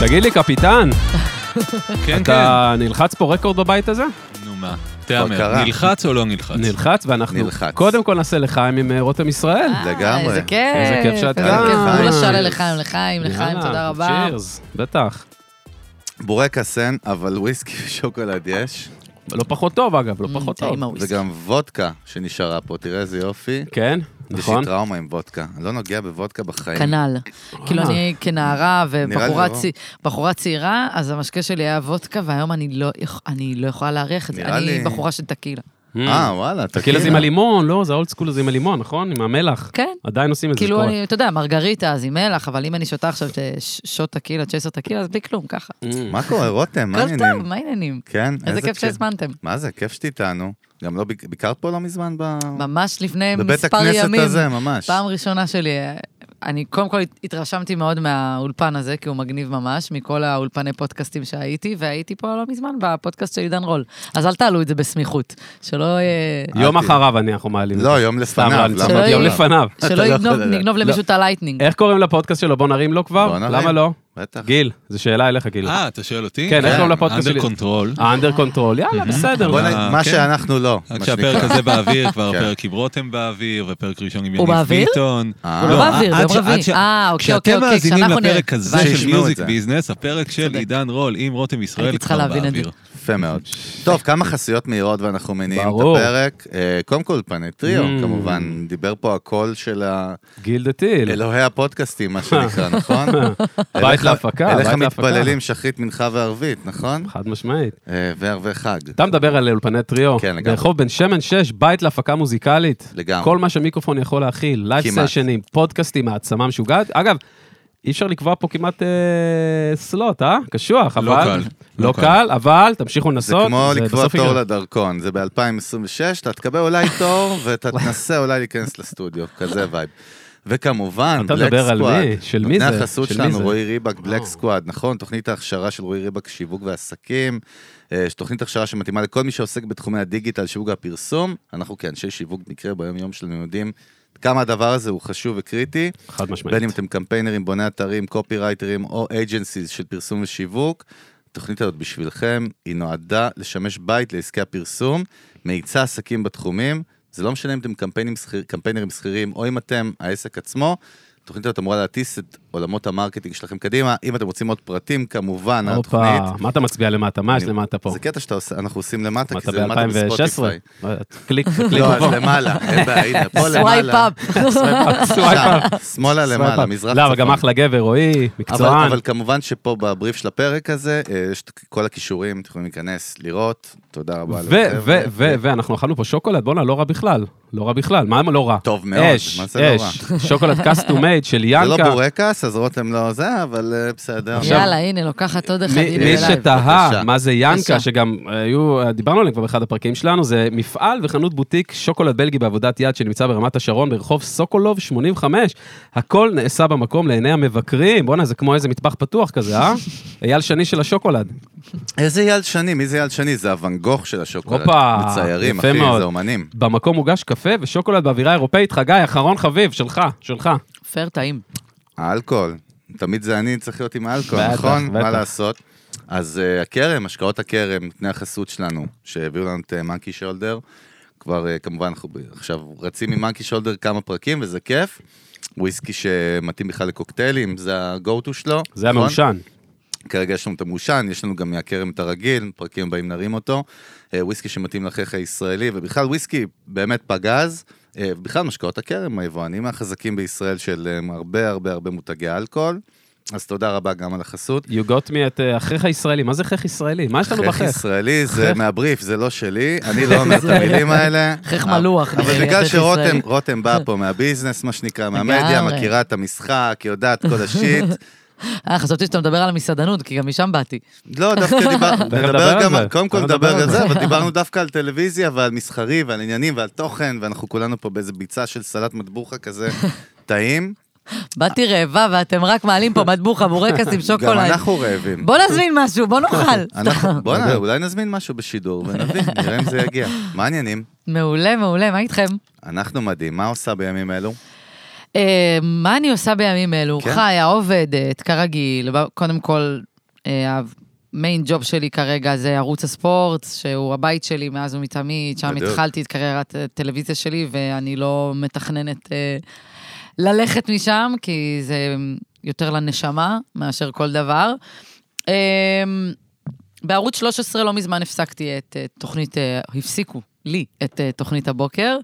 תגיד לי, קפיטן, כן, אתה נלחץ פה רקורד בבית הזה? כן. נו מה, כבר תהמר, קרה. נלחץ או לא נלחץ? נלחץ, ואנחנו נלחץ. קודם כל נעשה לחיים עם אה, רותם ישראל. אה, לגמרי. אה, איזה כיף. איזה כיף שאתה איזה כאן. כיף. בואו Nice. נשאל לחיים, לחיים, לחיים, יאללה, תודה רבה. צ'ירס, בטח. בורקס אין, אבל וויסקי ושוקולד יש, לא פחות טוב, אגב, לא Mm, פחות טעים טוב. הוויסקי. וגם וודקה שנשארה פה, תראה איזה יופי. כן, יש נכון. לי טראומה עם וודקה, אני לא נוגע בוודקה בחיים. כנ"ל. כאילו אני כנערה ובחורה אה, נראה לי לא. צי- בחורה צעירה, אז המשקה שלי היה וודקה, והיום אני לא יכ- אני לא יכולה להריח את זה. נראה אני לי- בחורה של טקילה. אה, וואלה, תקילה זה Mm. עם הלימון, לא, זה האולד סקול הזה עם הלימון, נכון? עם המלח. כן. עדיין עושים את זה. כאילו, כל- אני, אתה יודע, מרגריטה אז עם מלח, אבל אם אני שותה עכשיו אה, ש- שוט טקילה, צ'ייסר טקילה, אז בלי כלום, ככה. Mm. מה קורה, רותם? מה כל טוב, העניינים? מה העניינים? כן, איזה כיף שהזמנתם. מה זה, כיף שתיתנו. גם לא, ביק- ביקרת פה לא מזמן ב... ממש לפני בבית מספר ימים. הכנסת הזה, ממש. פעם ראשונה שלי, אני קודם כל התרשמתי מאוד מהאולפן הזה, כי הוא מגניב ממש, מכל האולפני פודקאסטים שהייתי, והייתי פה לא מזמן בפודקאסט של עידן רול. אז אל תעלו את זה בסמיכות, שלא, אה, יום אהבתי. אחריו אני, אנחנו מעלים. לא, יום סתם, לא, לפניו. אני למה צוחק, שלא יום יהיה- לפניו? לפניו. לא שלא יגנוב- יכול לדעת. נגנוב למישהו את הלייטנינג. איך קוראים לפודקאסט שלו? בוא נרים לו כבר? בוא נרים. למה לא? בטח. גיל, זו שאלה אליך, גיל. אה, אתה שואל אותי? כן, איך קוראים לפודקאסט שלי? אה, אנדר קונטרול. האנדר קונטרול, יאללה, בסדר. אה. בוא אה, נגיד, מה כן. שאנחנו לא, רק מה שהפרק שנקרא. הזה באוויר, כבר כן. הפרק עם רותם באוויר, ופרק ראשון עם הוא יניב באוויר? ביטון. אה. הוא לא באוויר, עד ביום ש- עד רביעי. ש- אה, אוקיי, אוקיי, כשאתם אוקיי, מאזינים כשאנחנו נראה. לפרק הזה הבנתי. של שישמעו את מיוזיק זה. ביזנס, הפרק של צודק. עידן רול עם רותם ישראל הייתי צריכה כבר להבין את זה. באוויר. יפה מאוד. טוב, כמה חסויות מהירות ואנחנו מניעים את ברור. הפרק. אה, קודם כל, פנטריו, Mm. כמובן, דיבר פה הקול של ה- גיל דה טיל. אלוהי הפודקאסטים, מה שנקרא, נכון? בית להפקה, בית אליך להפקה. מתפללים שחרית, מנחה וערבית, נכון? חד משמעית. אה, וערבי חג. אתה מדבר על אולפני טריו. כן, לגמרי. רחוב בן שמן 6, בית להפקה מוזיקלית. לגמרי. כל מה שמיקרופון יכול להכיל, לייב כמעט. סשנים, פודקאסטים, העצמה משוגעת. אגב, אי אפשר לקבוע פה כמעט אה, סלוט, אה? קשוח, אבל... לא קל. לא לא קל, אבל תמשיכו זה לנסות. כמו לקבוע בסוף תור יקרה. לדרכון, זה ב-2026, אתה תקבל אולי תור ואתה תנסה אולי להיכנס לסטודיו, כזה וייב. וכמובן, אתה בלק מדבר על סקוואד, מי? של מי נותני זה? החסות של מי שלנו, זה? רועי ריבק, בלק וואו. סקוואד, נכון? תוכנית ההכשרה של רועי ריבק, שיווק ועסקים, אה, תוכנית הכשרה שמתאימה לכל מי שעוסק בתחומי הדיגיטל, שיווק והפרסום. אנחנו כאנשי שיווק מקרה ביום-יום שלנו יודעים כמה הדבר הזה הוא חשוב וקריטי. חד משמעית. בין אם אתם קמפיינרים, בוני אתרים, קופי רייטרים או אייג'נסיז של פרסום ושיווק, התוכנית הזאת בשבילכם, היא נועדה לשמש בית לעסקי הפרסום, מאיצה עסקים בתחומים, זה לא משנה אם אתם קמפיינים שכיר, קמפיינרים שכירים או אם אתם העסק עצמו, התוכנית הזאת אמורה להטיס את עולמות המרקטינג שלכם קדימה, אם אתם רוצים עוד פרטים, כמובן, הופה, התוכנית. מה אתה מצביע למטה? מה יש אני- למטה פה? זה קטע שאנחנו עושים למטה, מה כי אתה זה למטה ב-2016? בספוטיפיי. קליק, קליק, לא, אז למעלה, אין בעיה, הנה, פה סווייפ למעלה. אפ. סווייפ אפ. שם, שמאלה למעלה, מזרח צפון. לא, אבל גם אחלה גבר, רועי, אבל, מקצוען. אבל כמובן שפה בבריף של הפרק הזה, אה, יש את כל הכישורים, אתם יכולים להיכנס, לראות, תודה רבה. אה, ו- לכם. ו- ו- ואנחנו אכלנו פה שוקולד, בואנה, לא רע בכלל. לא רע בכלל, מה לא רע? טוב מאוד, אש, מה זה לא אש, שוקולד custom made של זה לא ינקה. בורקס, אז רותם לא זה, אבל אה, בסדר. עכשיו- יאללה, הנה, לוקחת עוד אחד. מי הנה, מי בלייב. שתהה בבקשה. מה זה ינקה, בבקשה. שגם היו, דיברנו עליהם כבר באחד הפרקים שלנו, זה מפעל וחנות בוטיק שוקולד בלגי בעבודת יד שנמצא ברמת השרון ברחוב סוקולוב 85. הכל נעשה במקום לעיני המבקרים. בואנה, זה כמו איזה מטבח פתוח כזה, אה? אייל שני של השוקולד. איזה אייל שני, מי זה אייל שני? זה הוואן גוך של השוקולד. הופה, מציירים, יפה אחי, מאוד. זה אומנים. במקום הוגש קפה ושוקולד באווירה אירופאית. חגי, אחרון חביב, שלך, שלך. פר טעים. האלכוהול, תמיד זה אני צריך להיות עם האלכוהול, בטח, נכון? בטח. מה לעשות? אז אה, הכרם, השקעות הכרם, תנאי החסות שלנו, שהביאו לנו את אה, מנקי שולדר, כבר אה, כמובן אנחנו ב- עכשיו רצים עם מנקי שולדר כמה פרקים וזה כיף. וויסקי שמתאים בכלל לקוקטיילים, זה ה-go to שלו. זה נכון? המעושן. כרגע יש לנו את המעושן, יש לנו גם מהכרם את הרגיל, פרקים הבאים נרים אותו. אה, וויסקי שמתאים לחייך הישראלי, ובכלל וויסקי באמת פגז. אה, ובכלל משקאות הכרם, היבואנים החזקים בישראל של אה, הרבה הרבה הרבה מותגי אלכוהול. אז תודה רבה גם על החסות. You got me את אה, החייך הישראלי. מה זה חייך ישראלי? מה יש לנו חייך בחייך? ישראלי זה מהבריף, זה לא שלי, אני לא אומר את המילים האלה. חייך מלוח, נראה אבל לי, בגלל חייך שרותם ישראלי. רותם בא פה מהביזנס, מה שנקרא, מהמדיה, לגמרי. מכירה את המשחק, יודעת כל השיט, אה, חשבתי שאתה מדבר על המסעדנות, כי גם משם באתי. לא, דווקא דיברנו, תכף נדבר נדבר על גם, זה. על- קודם כל תכף נדבר נדבר על על זה. זה, אבל דיברנו דווקא על טלוויזיה ועל מסחרי ועל עניינים ועל תוכן, ואנחנו כולנו פה באיזה ביצה של סלט מטבוחה כזה טעים. באתי רעבה, ואתם רק מעלים פה מטבוחה, בורקס עם גם שוקולד. אנחנו רעבים. בוא נזמין משהו, בוא נאכל. אנחנו- בוא'נה, אולי נזמין משהו בשידור ונבין, נראה אם זה יגיע. מה העניינים? מעולה, מעולה, מה איתכם? אנחנו מדהים, מה עושה בימים אלו? אה, מה אני עושה בימים אלו? כן. חיה, עובדת, כרגיל, ב- קודם כל... אה, המיין ג'וב שלי כרגע זה ערוץ הספורט, שהוא הבית שלי מאז ומתמיד, שם בדיוק. התחלתי את קריירת הטלוויזיה שלי, ואני לא מתכננת אה, ללכת משם, כי זה יותר לנשמה מאשר כל דבר. אה, בערוץ 13 לא מזמן הפסקתי את אה, תוכנית, אה, הפסיקו לי את אה, תוכנית הבוקר,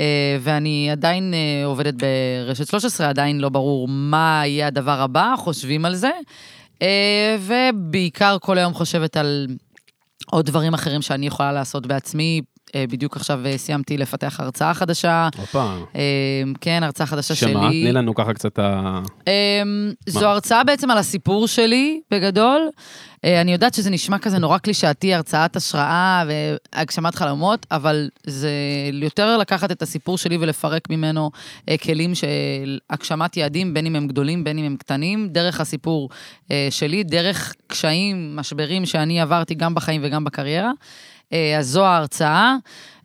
אה, ואני עדיין אה, עובדת ברשת 13, עדיין לא ברור מה יהיה הדבר הבא, חושבים על זה, אה, ובעיקר כל היום חושבת על עוד דברים אחרים שאני יכולה לעשות בעצמי. אה, בדיוק עכשיו אה, סיימתי לפתח הרצאה חדשה. הופה. אה, כן, הרצאה חדשה שלי. שמה? תני לנו ככה קצת ה... אמ, זו הרצאה בעצם על הסיפור שלי, בגדול. אה, אני יודעת שזה נשמע כזה נורא קלישאתי, הרצאת השראה והגשמת חלומות, אבל זה יותר לקחת את הסיפור שלי ולפרק ממנו אה, כלים של הגשמת יעדים, בין אם הם גדולים, בין אם הם קטנים, דרך הסיפור אה, שלי, דרך קשיים, משברים שאני עברתי גם בחיים וגם בקריירה. אה, אז זו ההרצאה.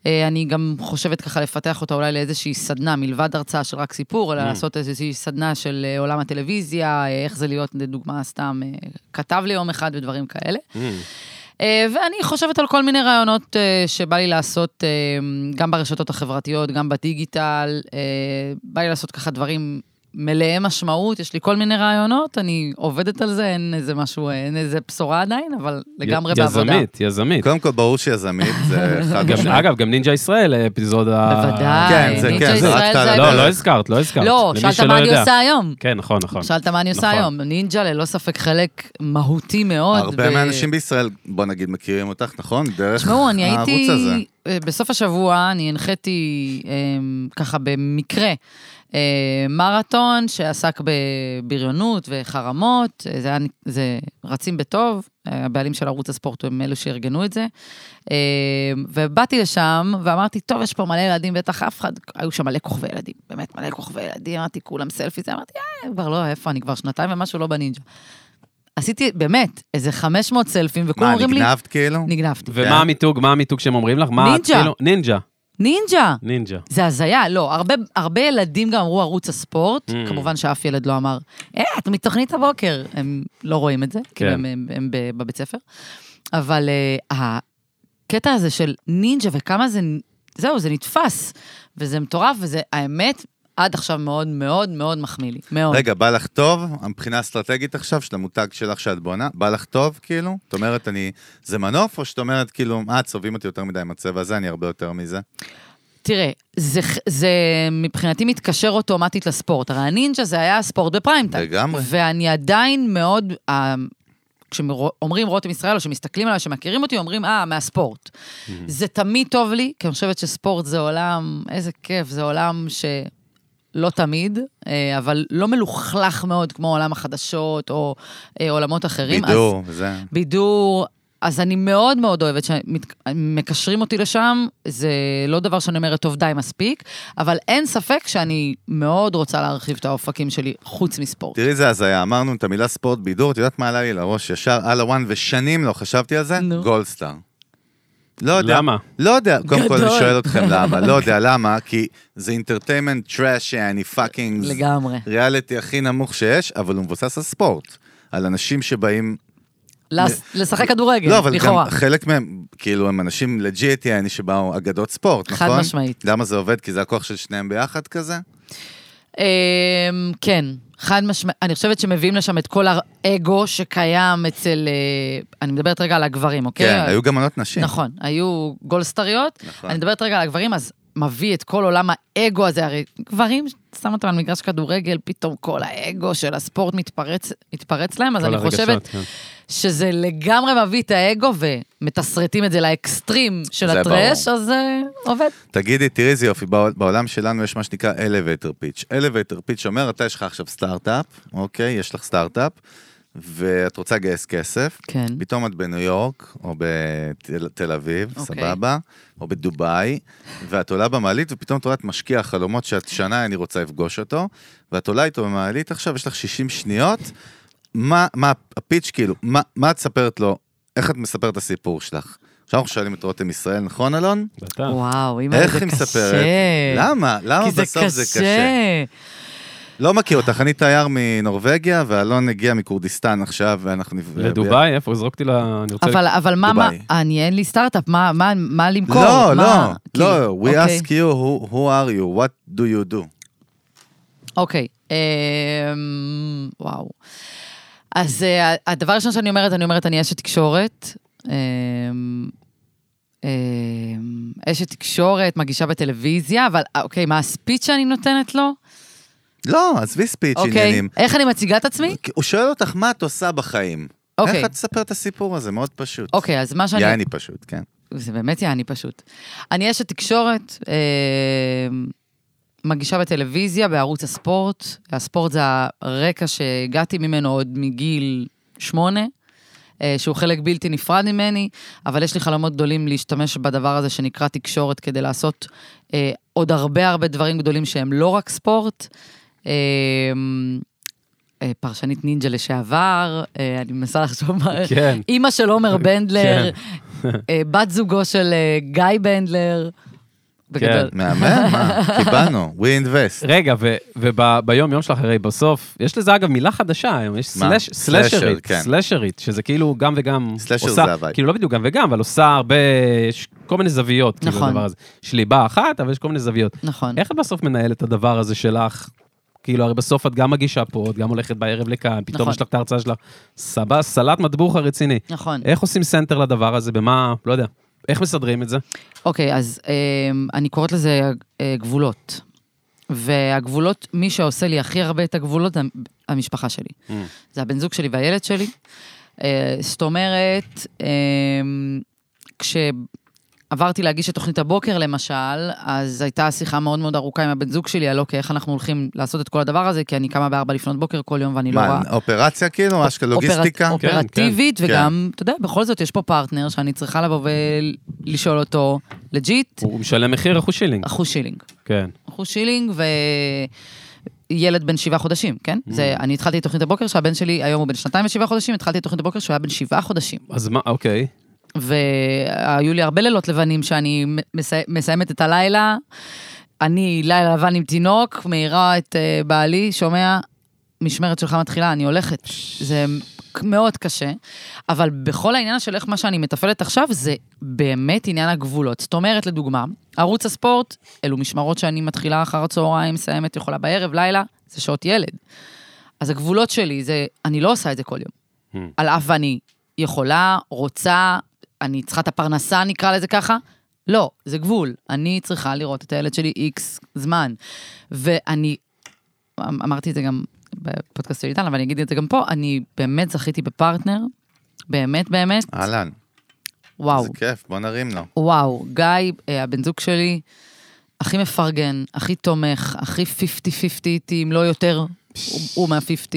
אה, אני גם חושבת ככה לפתח אותה אולי לאיזושהי סדנה, מלבד הרצאה של רק סיפור, אלא לעשות איזושהי סדנה של אה, עולם הטלוויזיה, אה, איך זה להיות, לדוגמה, סתם אה, כתב ליום אחד ודברים כאלה. Mm. אה, ואני חושבת על כל מיני רעיונות אה, שבא לי לעשות, אה, גם ברשתות החברתיות, גם בדיגיטל, אה, בא לי לעשות ככה דברים מלאי משמעות, יש לי כל מיני רעיונות, אני עובדת על זה, אין איזה משהו, אה, אין איזה בשורה עדיין, אבל לגמרי בעבודה. יזמית, יזמית. קודם כל, ברור שיזמית, זה חד גם- משמעית. אגב, גם נינג'ה ישראל אה, אפיזודה... בוודאי. כן, זה- נינג'ה כן, זה ישראל רק תעלה. לא, לא הזכרת, לא הזכרת. לא, למי שאלת שלא מה אני יודע. עושה היום. כן, נכון, נכון. שאלת מה אני עושה נכון. היום. נינג'ה ללא ספק חלק מהותי מאוד. הרבה ב- מהאנשים בישראל, בוא נגיד, מכירים אותך, נכון? דרך תשמעו, אני הערוץ הייתי... הזה. אה, בסוף השבוע אני הנחיתי אה, ככה במקרה אה, מרתון שעסק בבריונות וחרמות, אה, זה, היה, זה רצים בטוב, אה, הבעלים של ערוץ הספורט הם אלו שארגנו את זה. אה, ובאתי לשם ואמרתי, טוב, יש פה מלא ילדים, בטח אף אחד, היו שם מלא כוכבי ילדים, באמת מלא כוכבי ילדים, אמרתי, כולם סלפי, זה אמרתי, אה, כבר לא, איפה אני כבר שנתיים ומשהו לא בנינג'ה. עשיתי, באמת, איזה 500 סלפים, וכולם מה, אומרים לי... נגנבת כאילו? נגנבתי. כן. ומה המיתוג, מה המיתוג שהם אומרים לך? מה את נינג'ה. כאילו- נינג'ה. נינג'ה! נינג'ה. זה הזיה, לא, הרבה, הרבה ילדים גם אמרו ערוץ הספורט, Mm. mm. כמובן שאף ילד לא אמר, אה, את מתוכנית הבוקר. הם לא רואים את זה, כן. כאילו הם, הם, הם ב- בבית ספר. אבל uh, הקטע הזה של נינג'ה וכמה זה, זהו, זה נתפס, וזה מטורף, וזה, האמת, עד עכשיו מאוד מאוד מאוד מחמיא לי, מאוד. רגע, בא לך טוב, מבחינה אסטרטגית עכשיו, של המותג שלך שאת בונה, בא לך טוב, כאילו? את אומרת, אני... זה מנוף, או שאת אומרת, כאילו, אה, צובעים אותי יותר מדי עם הצבע הזה, אני הרבה יותר מזה? תראה, זה, זה מבחינתי מתקשר אוטומטית לספורט. הרי הנינג'ה זה היה ספורט בפריים טיים. לגמרי. ואני עדיין מאוד... אה, כשאומרים רותם ישראל, או שמסתכלים עליי, שמכירים אותי, אומרים, אה, מהספורט. זה תמיד טוב לי, כי אני חושבת שספורט זה עולם, איזה כיף, זה עולם שלא תמיד, אה, אבל לא מלוכלך מאוד כמו עולם החדשות, או אה, עולמות אחרים. אז- בידור, זה... בידור, אז אני מאוד מאוד אוהבת שמקשרים אותי לשם, זה לא דבר שאני אומרת, טוב, די, מספיק, אבל אין ספק שאני מאוד רוצה להרחיב את האופקים שלי חוץ מספורט. תראי איזה הזיה, אמרנו את המילה ספורט בידור, את יודעת מה עלה לי לראש ישר על הוואן, ושנים לא חשבתי על זה? נו. גולדסטאר. לא יודע. למה? לא יודע, קודם כל אני גדול. שואל אתכם למה, לא יודע למה, כי זה אינטרטיימנט טראש, אני פאקינג... לגמרי. ריאליטי הכי נמוך שיש, אבל הוא מבוסס על ספורט. על אנשים שבאים... לס- לשחק כדורגל, לא, אבל גם לכאורה. חלק מהם, כאילו, הם אנשים לג'יט, יעני, שבאו אגדות ספורט, חד נכון? משמעית. למה זה עובד? כי זה הכוח של שניהם ביחד כזה? אמ, כן, חד משמעית. אני חושבת שמביאים לשם את כל האגו שקיים אצל... אה, אני מדברת רגע על הגברים, אוקיי? כן, היו גם מנות נשים. נכון, היו גולדסטריות. נכון. אני מדברת רגע על הגברים, אז מביא את כל עולם האגו הזה, הרי גברים, שם אותם על מגרש כדורגל, פתאום כל האגו של הספורט מתפרץ, מתפרץ להם, אז כל אני הרגשות, חושבת כן. שזה לגמרי מביא את האגו, ומתסרטים את זה לאקסטרים של זה הטרש, אז זה עובד. תגידי, תראי איזה יופי, בעול- בעולם שלנו יש מה שנקרא elevator pitch. elevator pitch אומר, אתה יש לך עכשיו סטארט-אפ, אוקיי? יש לך סטארט-אפ, ואת רוצה לגייס כסף. כן. פתאום את בניו יורק, או בתל תל אביב, אוקיי. סבבה, או בדובאי, ואת עולה במעלית, ופתאום את רואה את משקיע החלומות שאת שנה, אני רוצה לפגוש אותו, ואת עולה איתו במעלית עכשיו, יש לך 60 שניות, מה, מה הפיץ' כאילו, מה, מה את מספרת לו, איך את מספרת את הסיפור שלך? עכשיו אנחנו שואלים את רותם ישראל, נכון אלון? בטח. וואו, אימא, זה איך קשה. היא מספרת? למה? למה כי זה בסוף קשה. זה קשה? לא מכיר אותך, אני תייר מנורבגיה, ואלון הגיע מכורדיסטן עכשיו, ואנחנו... נפ- לדובאי, איפה? זרוקתי לה... אני רוצה... אבל, אבל מה, מה, דובאי. אני, אין לי סטארט-אפ, מה, מה, מה למכור? לא, מה, לא, לא, כאילו, we אוקיי. ask you who- who are you, what do you do. אוקיי, אמ, וואו. אז אה, הדבר הראשון שאני אומרת, אני אומרת, אני אשת תקשורת. אמ, אמ, אשת תקשורת, מגישה בטלוויזיה, אבל אה, אוקיי, מה הספיץ' שאני נותנת לו? לא, עזבי ספיץ' אוקיי, עניינים. איך אני מציגה את עצמי? הוא שואל אותך מה את עושה בחיים. אוקיי. איך את תספר את הסיפור הזה? מאוד פשוט. אוקיי, אז מה שאני... יעני פשוט, כן. זה באמת יעני פשוט. אני אשת תקשורת, אה, מגישה בטלוויזיה בערוץ הספורט. הספורט זה הרקע שהגעתי ממנו עוד מגיל שמונה, אה, שהוא חלק בלתי נפרד ממני, אבל יש לי חלומות גדולים להשתמש בדבר הזה שנקרא תקשורת כדי לעשות אה, עוד הרבה הרבה דברים גדולים שהם לא רק ספורט. אה, אה, פרשנית נינג'ה לשעבר, אה, אני מנסה לחשוב מה... כן. אימא של עומר בנדלר, אה, בת זוגו של אה, גיא בנדלר. בגדול. כן. מהמם, מה? קיבלנו, we invest. רגע, וביום יום שלך, הרי בסוף, יש לזה אגב מילה חדשה היום, יש מה? סלש- סלשר, סלשרית, כן. סלשרית, שזה כאילו גם וגם סלשר עושה, זה הוואי. כאילו לא בדיוק גם וגם, אבל עושה הרבה, יש כל מיני זוויות, כאילו נכון. הדבר הזה. יש ליבה אחת, אבל יש כל מיני זוויות. נכון. איך את בסוף מנהלת את הדבר הזה שלך? כאילו, הרי בסוף את גם מגישה פה, את גם הולכת בערב לכאן, פתאום נכון. יש לך את ההרצאה שלך, סבבה, סלט מטבוחה רציני. נכון. איך עושים סנטר לדבר הזה? במה, לא יודע. איך מסדרים את זה? אוקיי, אז אה, אני קוראת לזה אה, גבולות. והגבולות, מי שעושה לי הכי הרבה את הגבולות, זה המשפחה שלי. Mm. זה הבן זוג שלי והילד שלי. אה, זאת אומרת, אה, כשעברתי להגיש את תוכנית הבוקר, למשל, אז הייתה שיחה מאוד מאוד ארוכה עם הבן זוג שלי, על אוקיי, איך אנחנו הולכים לעשות את כל הדבר הזה, כי אני קמה בארבע לפנות בוקר כל יום ואני לא רואה... מה, אופרציה כאילו? ממש לוגיסטיקה? אופרט- אופרטיבית, כן, כן. וגם, אתה יודע, בכל זאת יש פה פרטנר שאני צריכה לבוא ולשאול אותו, לג'יט, הוא משלם מחיר אחוז שילינג. אחוז שילינג. כן. אחוז שילינג וילד בן שבעה חודשים, כן? Mm. זה, אני התחלתי את תוכנית הבוקר שהבן שלי, היום הוא בן שנתיים ושבעה חודשים, התחלתי את תוכנית הבוקר שהוא היה בן שבעה חודשים. אז מה, אוקיי. והיו לי הרבה לילות לבנים שאני מסי- מסיימת את הלילה. אני לילה לבן עם תינוק, מעירה את אה, בעלי, שומע, משמרת שלך מתחילה, אני הולכת. זה מאוד קשה, אבל בכל העניין של איך מה שאני מתפעלת עכשיו, זה באמת עניין הגבולות. זאת אומרת, לדוגמה, ערוץ הספורט, אלו משמרות שאני מתחילה אחר הצהריים, מסיימת, יכולה בערב, לילה, זה שעות ילד. אז הגבולות שלי זה, אני לא עושה את זה כל יום. Hmm. על אף ואני יכולה, רוצה, אני צריכה את הפרנסה, נקרא לזה ככה. לא, זה גבול. אני צריכה לראות את הילד שלי איקס זמן. ואני, אמ- אמרתי את זה גם בפודקאסט של איתן, אבל אני אגיד את זה גם פה, אני באמת זכיתי בפרטנר, באמת באמת, אהלן, וואו. איזה כיף, בוא נרים לו. וואו, גיא, אה, הבן זוג שלי, הכי מפרגן, הכי תומך, הכי 50-50 איתי, אם לא יותר, הוא- הוא מה-50.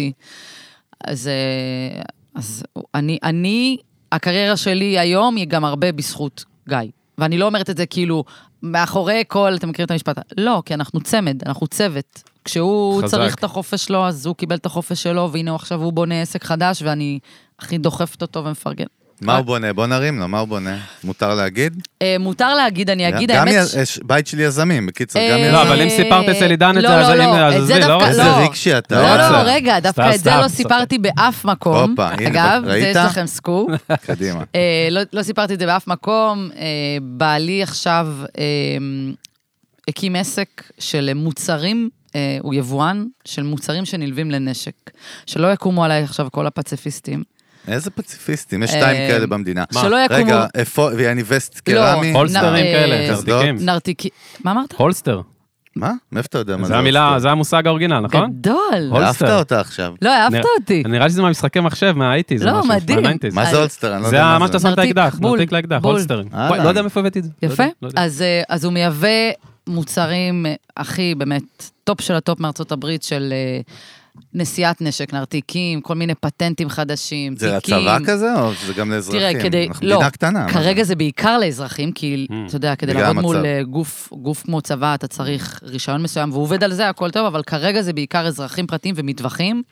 אז, אה, אז אני, אני, הקריירה שלי היום היא גם הרבה בזכות גיא. ואני לא אומרת את זה כאילו, מאחורי כל, אתם מכירים את המשפט? לא, כי אנחנו צמד, אנחנו צוות. כשהוא חזק. צריך את החופש שלו, אז הוא קיבל את החופש שלו, והנה הוא עכשיו הוא בונה עסק חדש, ואני הכי דוחפת אותו ומפרגן. מה הוא בונה? בוא נרים לו, מה הוא בונה? מותר להגיד? אה, מותר להגיד, אני אגיד, גם האמת... יז- יש בית של יזמים, בקיצור, גם אה, לא, אבל יזמים. אם סיפרת אצל עידן את לא, זה, אז לא, אם- לא, אז את זה עזבי, לא? דווקא- איזה איזה רגשי אתה. לא, לא, לא, סתם, רגע, דווקא את זה סתם, לא סתם. סיפרתי באף מקום. הופה, הנה, אגב, זה ראית? יש לכם סקופ. קדימה. אה, לא- לא סיפרתי את זה באף מקום. אה, בעלי עכשיו אה, הקים עסק של מוצרים, אה, הוא יבואן, של מוצרים שנלווים לנשק. שלא יקומו עליי עכשיו כל הפציפיסטים. איזה פציפיסטים, יש שתיים אה, כאלה במדינה. מה? שלא יקומו- רגע, אפו- ויעני וסט לא, קרמי? הולסטרים אה, כאלה, קסדות. תזדיקים. נרתיקי... מה אמרת? הולסטר. מה? מאיפה אתה יודע מה זה? זה המילה, הולסטר? זה המושג האורגינל, נכון? גדול. הולסטר. אהבת אותה עכשיו. לא, אהבת נראה- אותי. נראה לי שזה מהמשחקי מחשב, מהאייטיז. לא, מדהים. מה אז- זה אה, הולסטר? אני לא זה יודע מה שאתה שם את נרתיק, האקדח, בול, נרתיק לאקדח, בול. הולסטרים. וואי, אהלן. לא יודע מאיפה הבאתי את זה. לא יפה. יודע, לא יודע. אז, אה, אז הוא מייבא מוצרים אה, הכי באמת טופ של הטופ מארצות הברית של אה, נשיאת נשק, נרתיקים, כל מיני פטנטים חדשים, זה תיקים. לצבא כזה, או שזה גם לאזרחים? תראה, כדי, אנחנו לא, מדינה קטנה. מה כרגע זה בעיקר לאזרחים, כי Mm. אתה יודע, כדי בגלל לעבוד מול המצב. אה, גוף, גוף כמו צבא, אתה צריך רישיון מסוים, והוא עובד על זה, הכל טוב, אבל כרגע זה בעיקר אזרחים פרטיים ומטווחים,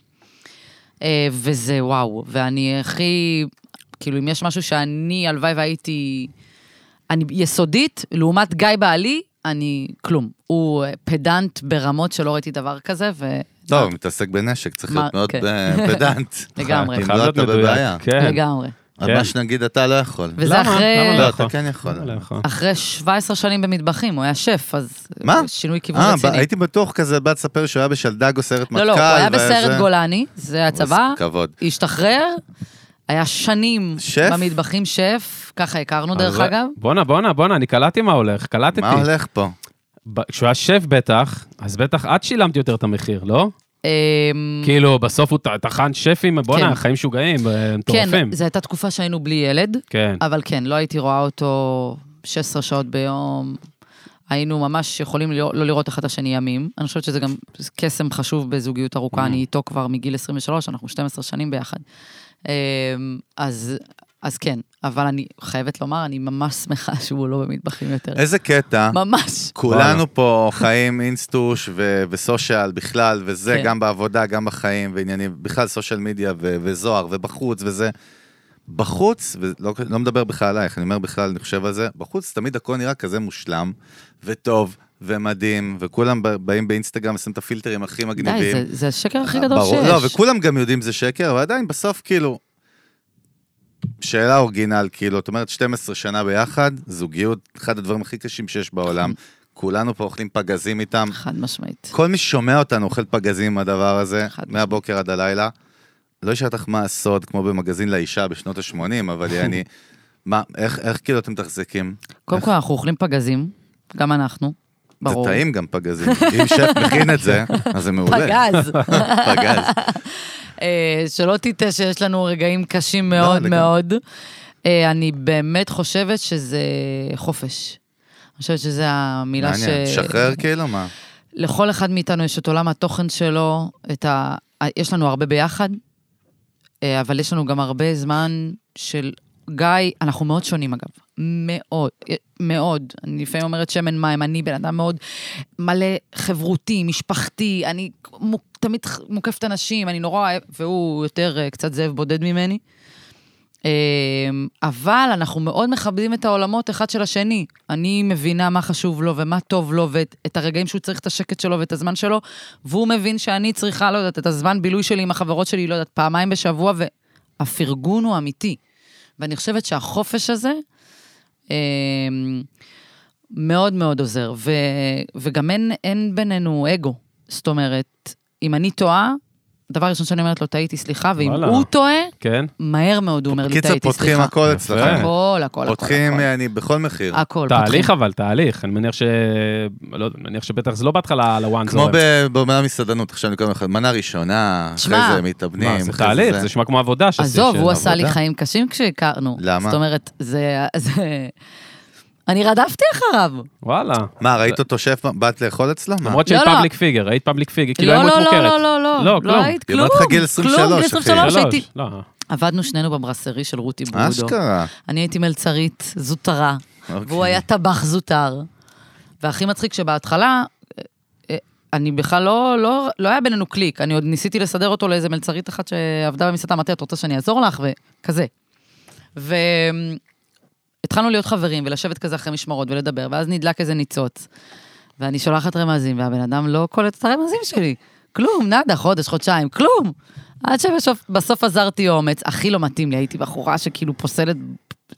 אה, וזה וואו, ואני הכי, כאילו, אם יש משהו שאני, הלוואי והייתי, אני יסודית, לעומת גיא בעלי, אני כלום. הוא אה, פדנט ברמות שלא ראיתי דבר כזה, טוב, לא, הוא מתעסק בנשק, צריך מה- להיות מאוד כן. אה, פדנט. לגמרי. אם חייב לא, להיות אתה מדויק, בבעיה. כן. לגמרי. אבל כן. מה שנגיד אתה לא יכול. וזה למה? אחרי- למה לא, לא אתה יכול? כן יכול. למה לא יכול? אחרי 17 שנים במטבחים, הוא היה שף, אז... מה? שינוי כיוון אה, ב- רציני. הייתי בטוח כזה, בא לספר שהוא היה בשלדגו סיירת מטכ"ל. לא, לא, הוא היה והיה זה. בסיירת גולני, זה הצבא, אז כבוד. השתחרר, היה שנים שף? במטבחים שף, ככה הכרנו דרך אז- אגב. בואנה, בואנה, בואנה, אני קלטתי מה הולך, קלטתי. מה הולך פה? ב- כשהוא היה שף בטח, אז בטח את שילמת יותר את המחיר, לא? אמ, כאילו, בסוף הוא ט- טחן שפים, כן. בואנה, חיים משוגעים, אה, מטורפים. כן, זו הייתה תקופה שהיינו בלי ילד, כן. אבל כן, לא הייתי רואה אותו 16 שעות ביום. היינו ממש יכולים לא, לא לראות אחד את השני ימים. אני חושבת שזה גם קסם חשוב בזוגיות Mm. ארוכה, אני איתו כבר מגיל 23, אנחנו 12 שנים ביחד. אמ, אז, אז כן, אבל אני חייבת לומר, אני ממש שמחה שהוא לא במטבחים יותר. איזה קטע. ממש. וואלה. כולנו פה חיים אינסטוש ו- וסושיאל בכלל, וזה כן. גם בעבודה, גם בחיים, ועניינים, בכלל סושיאל מדיה ו- וזוהר ובחוץ וזה. בחוץ, ולא לא מדבר בכלל עלייך, אני אומר בכלל, אני חושב על זה, בחוץ תמיד הכל נראה כזה מושלם, וטוב, ומדהים, וכולם ב- באים באינסטגרם, עושים את הפילטרים הכי מגניבים. די, זה, זה השקר הכי גדול ברור, שיש. לא, וכולם גם יודעים זה שקר, אבל עדיין בסוף כאילו... שאלה אורגינל, כאילו, את אומרת 12 שנה ביחד, זוגיות, אחד הדברים הכי קשים שיש בעולם. כולנו פה אוכלים פגזים איתם. חד משמעית. כל מי ששומע אותנו אוכל פגזים עם הדבר הזה, חד משמעית. מהבוקר עד הלילה. לא אשאל אותך מה הסוד, כמו במגזין לאישה בשנות ה-80, אבל אני... מה, איך, איך כאילו אתם מתחזקים? קודם כל, אנחנו אוכלים פגזים, גם אנחנו, ברור. זה טעים גם פגזים. אם שף מכין את זה, אז זה מעולה. פגז. פגז. אה, שלא תטעה שיש לנו רגעים קשים לא, מאוד לגמרי. מאוד. אה, אני באמת חושבת שזה חופש. אני חושבת שזו המילה ש... מעניין, שחרר כאילו, מה? לכל אחד מאיתנו יש את עולם התוכן שלו, את ה... יש לנו הרבה ביחד, אה, אבל יש לנו גם הרבה זמן של... גיא, אנחנו מאוד שונים אגב, מאוד, אה, מאוד. אני לפעמים אומרת שמן מים, אני בן אדם מאוד מלא חברותי, משפחתי, אני מוק, תמיד ח- מוקפת אנשים, אני נורא אוהב, והוא יותר אה, קצת זאב בודד ממני. אה, אבל אנחנו מאוד מכבדים את העולמות אחד של השני. אני מבינה מה חשוב לו ומה טוב לו ואת את הרגעים שהוא צריך את השקט שלו ואת הזמן שלו, והוא מבין שאני צריכה, לא יודעת, את הזמן בילוי שלי עם החברות שלי, לא יודעת, פעמיים בשבוע, והפרגון הוא אמיתי. ואני חושבת שהחופש הזה אה, מאוד מאוד עוזר, ו, וגם אין, אין בינינו אגו. זאת אומרת, אם אני טועה, דבר ראשון שאני אומרת לו, טעיתי, סליחה, ואם וואלה. הוא טועה, כן. מהר מאוד הוא אומר לי, קיצר, טעיתי, פותחים סליחה. הכל יפה. אצלכם. הכל, הכל, הכל. פותחים, אה, הכל. אני בכל מחיר. הכל, תהליך פותחים. אבל, תהליך. אני מניח ש... לא יודע, מניח שבטח זה לא בהתחלה לוואן כמו זורם. ב- באומנה מסעדנות, עכשיו אני קורא לך, מנה ראשונה, אחרי שמע. זה מתאבנים. מה, זה אחרי תהליך, זה נשמע כמו עבודה שעשית. עזוב, של הוא עשה לי עבודה. חיים קשים כשהכרנו. למה? זאת אומרת, זה... זה- אני רדפתי אחריו. וואלה. מה, ראית אותו שף, באת לאכול אצלו? מה? למרות לא, שהיית לא. פאבליק פיגר, היית פאבליק פיגר, כאילו לא, היום את לא, מוכרת. לא, לא, לא, לא, לא, כלום. היית היא כלום. אומרת לך גיל 23, כלום, גיל אחי. 23, הייתי... שלוש, לא. עבדנו שנינו בברסרי של רותי ברודו. אשכרה. אני הייתי מלצרית זוטרה, אוקיי. לא. והוא היה טבח זוטר. והכי מצחיק שבהתחלה, אה, אה, אני בכלל לא, לא, לא היה בינינו קליק, אני עוד ניסיתי לסדר אותו לאיזה מלצרית אחת שעבדה במסעדה מטה, את רוצה שאני אעזור לך? וכזה. והתחלנו להיות חברים ולשבת כזה אחרי משמרות ולדבר, ואז נדלק איזה ניצוץ. ואני שולחת רמזים, והבן אדם לא קולט את הרמזים שלי. כלום, נאדה, חודש, חודשיים, כלום. עד שבסוף בסוף אזרתי אומץ, הכי לא מתאים לי, הייתי בחורה שכאילו פוסלת,